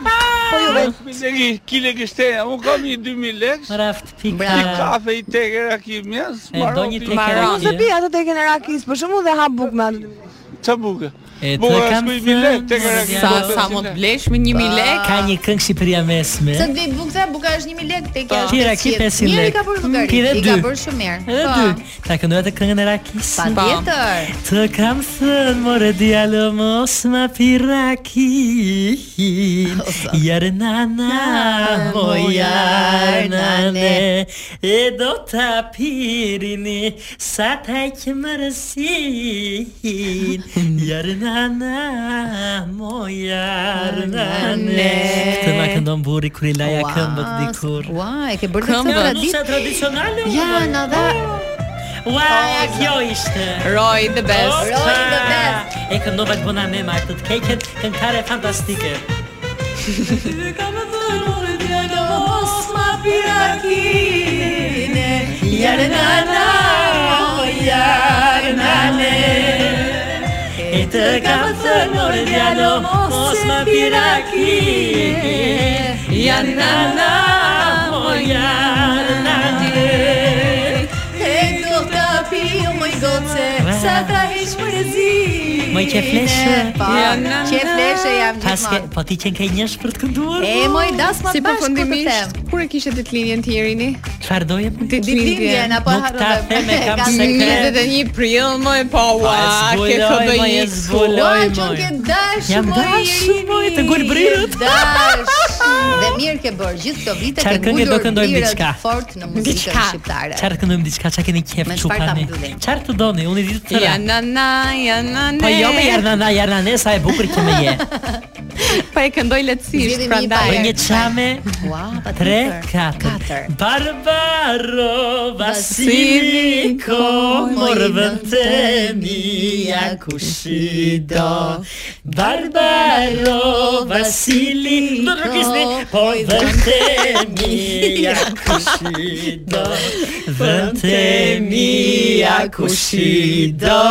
Po ju vetë. Kile kështeja, unë kam një 2000 lekës,
Raft
një
pika.
kafe i tekera ki mjes,
E do
marroti.
një tek
Maron.
Mos e pi ato tek e në rakis, për shembull dhe hap buk me ato.
Qa buke?
E të
Buke
kam
është kuj mi lekë, tekera ki
Sa sa mund të blesh me 1000 lekë?
Ka një këngë Shqipëria mesme.
Se të vej bukë, buka është 1000 lekë tek ja.
Tira ki 500
Njëri
lekë.
ka bërë llogarit,
Ki dhe
i ka
dy.
bërë shumë mirë.
Edhe
Po,
dy. Ta këndoj atë këngën e Rakis.
Patjetër.
Të kam thënë more djalo mos ma pirakin Jarë nana moja nane E do ta pirini sa ta i këmërësin Jarë nana moja nane Këtë ma këndon buri kur i laja
Ua,
këmbët dikur
Ua, e ke bërë
Këmbë.
këtë
Nusa
traditë.
tradicionale o,
Ja,
dhe.
na dha.
Ua, kjo ishte
Roy the best.
Opa!
Roy the best.
E këndova të bëna me martë të keqen, këngëtare fantastike. Jarë nana, jarë nane E të kam thënë morë djalo, mos ma pirakine Jarë nana, o jarë nane
E do ta pi o moj goce, sa ta hiq përzi.
Moj, qe fleshe.
Po,
Ja, na,
qe
na.
fleshe jam
Paske,
gjithmonë.
po ti qenë ke njësh për të kënduar?
E
mua?
moj das më
Si
bashkë kur të them.
përfundimisht, kur e kishte ditëlindjen ti Irini?
Çfarë doje?
Ditëlindjen apo
Nuk ta
harrove?
them, e kam
Kam-
sekret.
21 prill më po
Po,
ua,
e
ke
zbuloj, moj, e
KBI.
zbuloj.
Ua, që
moj.
ke dash,
Jam
moj,
dash,
Irini.
moj, të ngul brirët.
Dash. Dhe mirë ke bërë gjithë këto vite
Qarë
ke
këngë do
ngulur
këndojmë
brirët
diçka?
fort në muzikën
Diçka.
shqiptare.
Çfarë këndojmë diçka, çka keni qef
Me çfarë ta
çupani.
mbyllim?
Çfarë të doni? Unë i di të tëra.
Ja na na, ja na na.
Po jo me jarnana, jarnane sa e bukur që më je.
Po e këndoj lehtësisht,
Zgjidhim një
prandaj.
parë.
Një çame,
Ua,
tre,
patjetër.
katër.
Katër.
Barbaro Vasiliko morvën të mia kushido. Barbaro Vasili Do të kisni Po vëntemi ja kushido Vëntemi ja kushido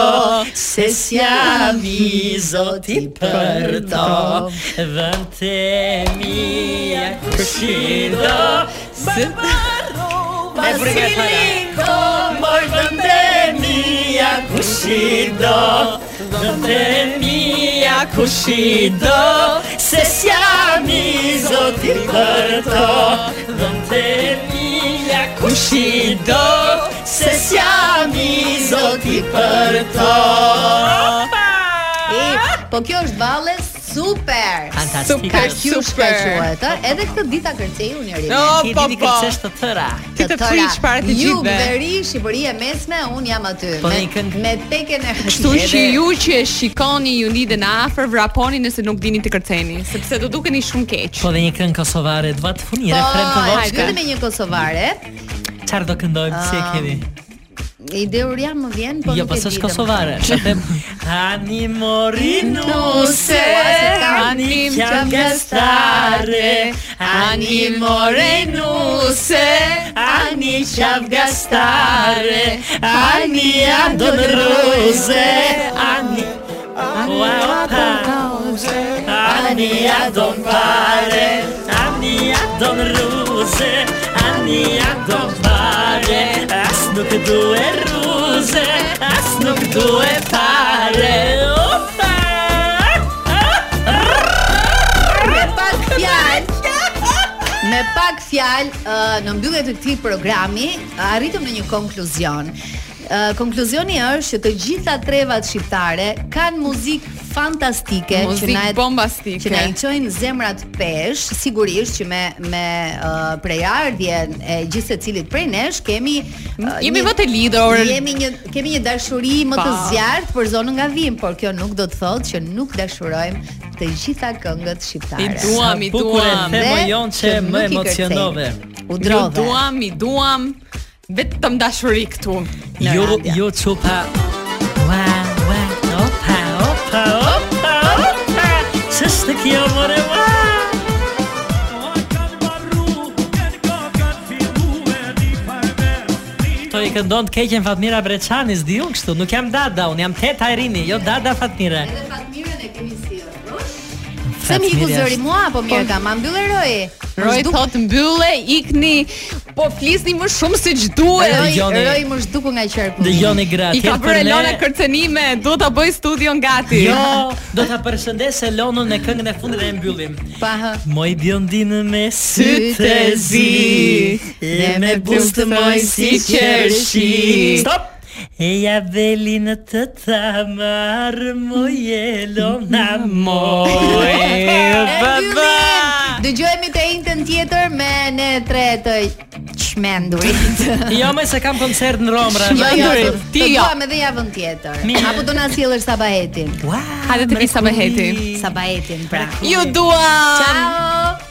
Se s'jam i zoti për to Vëntemi ja kushido Se Me Vasiliko Moj vëntemi ja kushido Vëntemi ja kushido Se s'jam i zoti për to Vëntemi ja kushido Se s'jam i zoti për to
E, po kjo është valle super.
Fantastika
Ka qysh ka
Super.
quhet, ë? Edhe këtë ditë ta kërcej unë njëri.
No,
Ti
po
diti
po.
kërcesh të tëra
Ti të frish para të
Ju
gjithëve.
veri Shqipëri e mesme, un jam aty.
Po,
me,
një këngë-
me tekën e
Kështu që ju që e shikoni ju lidhen afër, vraponi nëse nuk dini të kërceni, sepse do dukeni shumë keq.
Po dhe një këngë kosovare, dua të funi refren të
Po,
voçka.
hajde me një kosovare.
Çfarë do këndojmë, si e keni?
Ideur jam më vjen, po
jo,
nuk e
po
di.
s'është
domethënë.
kosovare. Sa them tani morinuse, ani çavgastare, ani morenuse, ani çavgastare, ani adonruse, ani Wow, ani Ania don pare Ania don ruse Ania don pare As nuk duhe ruse As nuk duhe pare Opa
Me pak fjalë. Me pak fjalë ë, në mbyllje të këtij programi uh, arritëm në një konkluzion. Ë, konkluzioni është që të gjitha trevat shqiptare kanë muzikë fantastike
Muzikë
na e-
bombastike.
që na i çojnë zemrat pesh, sigurisht që me me uh, prejardhjen e gjithë secilit prej nesh kemi ë,
Jemi
një-
më të lidhur.
Jemi një kemi një dashuri më të
Pa.
zjarrt për zonën nga vim, por kjo nuk do të thotë që nuk dashurojmë të gjitha këngët shqiptare.
I duam, i
Sa bukur e
duam.
the,
Dhe
mo, Jon, që
nuk
më
i kërcej.
emocionove.
U drove.
Ju duam, i duam. Vetëm dashuri këtu. në
Jo,
radio.
jo qupa Ua, ua, opa, opa, opa, opa Qështë kjo more, ua Këto i këndon të keqen Fatmira Breçani, s'di unë kështu, nuk jam dada, unë jam teta e rini, jo dada Fatmire.
Edhe Fatmirën e kemi sjellur. Se
Fatmire
më hiku zëri
është- Po-
mua apo mirë ka, ma mbyllë Roy.
Roj thot mbylle, ikni, po flisni më shumë se
Roy,
ç'duhet.
dëgjoni-
Roy më zhduku nga qarku.
Dëgjoni gra,
I ka
tjerë
bërë
për ne-
Elona kërcenime, do ta bëj studion gati.
Jo, do ta përshëndes Elonën në këngën e fundit dhe e mbyllim.
Pa hë.
Moj bjondinë me sytë e zi E me bustë moj si qërshi Stop! E ja veli në të tamarë Moj Elona moj Baba
Dëgjojmë të njëjtën tjetër me ne tre të çmendurit.
Jo me se kam koncert në Romra
Jo, jo,
Çmendurit,
ti
ti
jo.
jo.
Duam edhe javën tjetër.
Mirë.
Apo do na sjellësh Sabahetin.
Ua,
Hajde të vi Sabaheti.
Sabahetin pra.
Ju duam.
Ciao.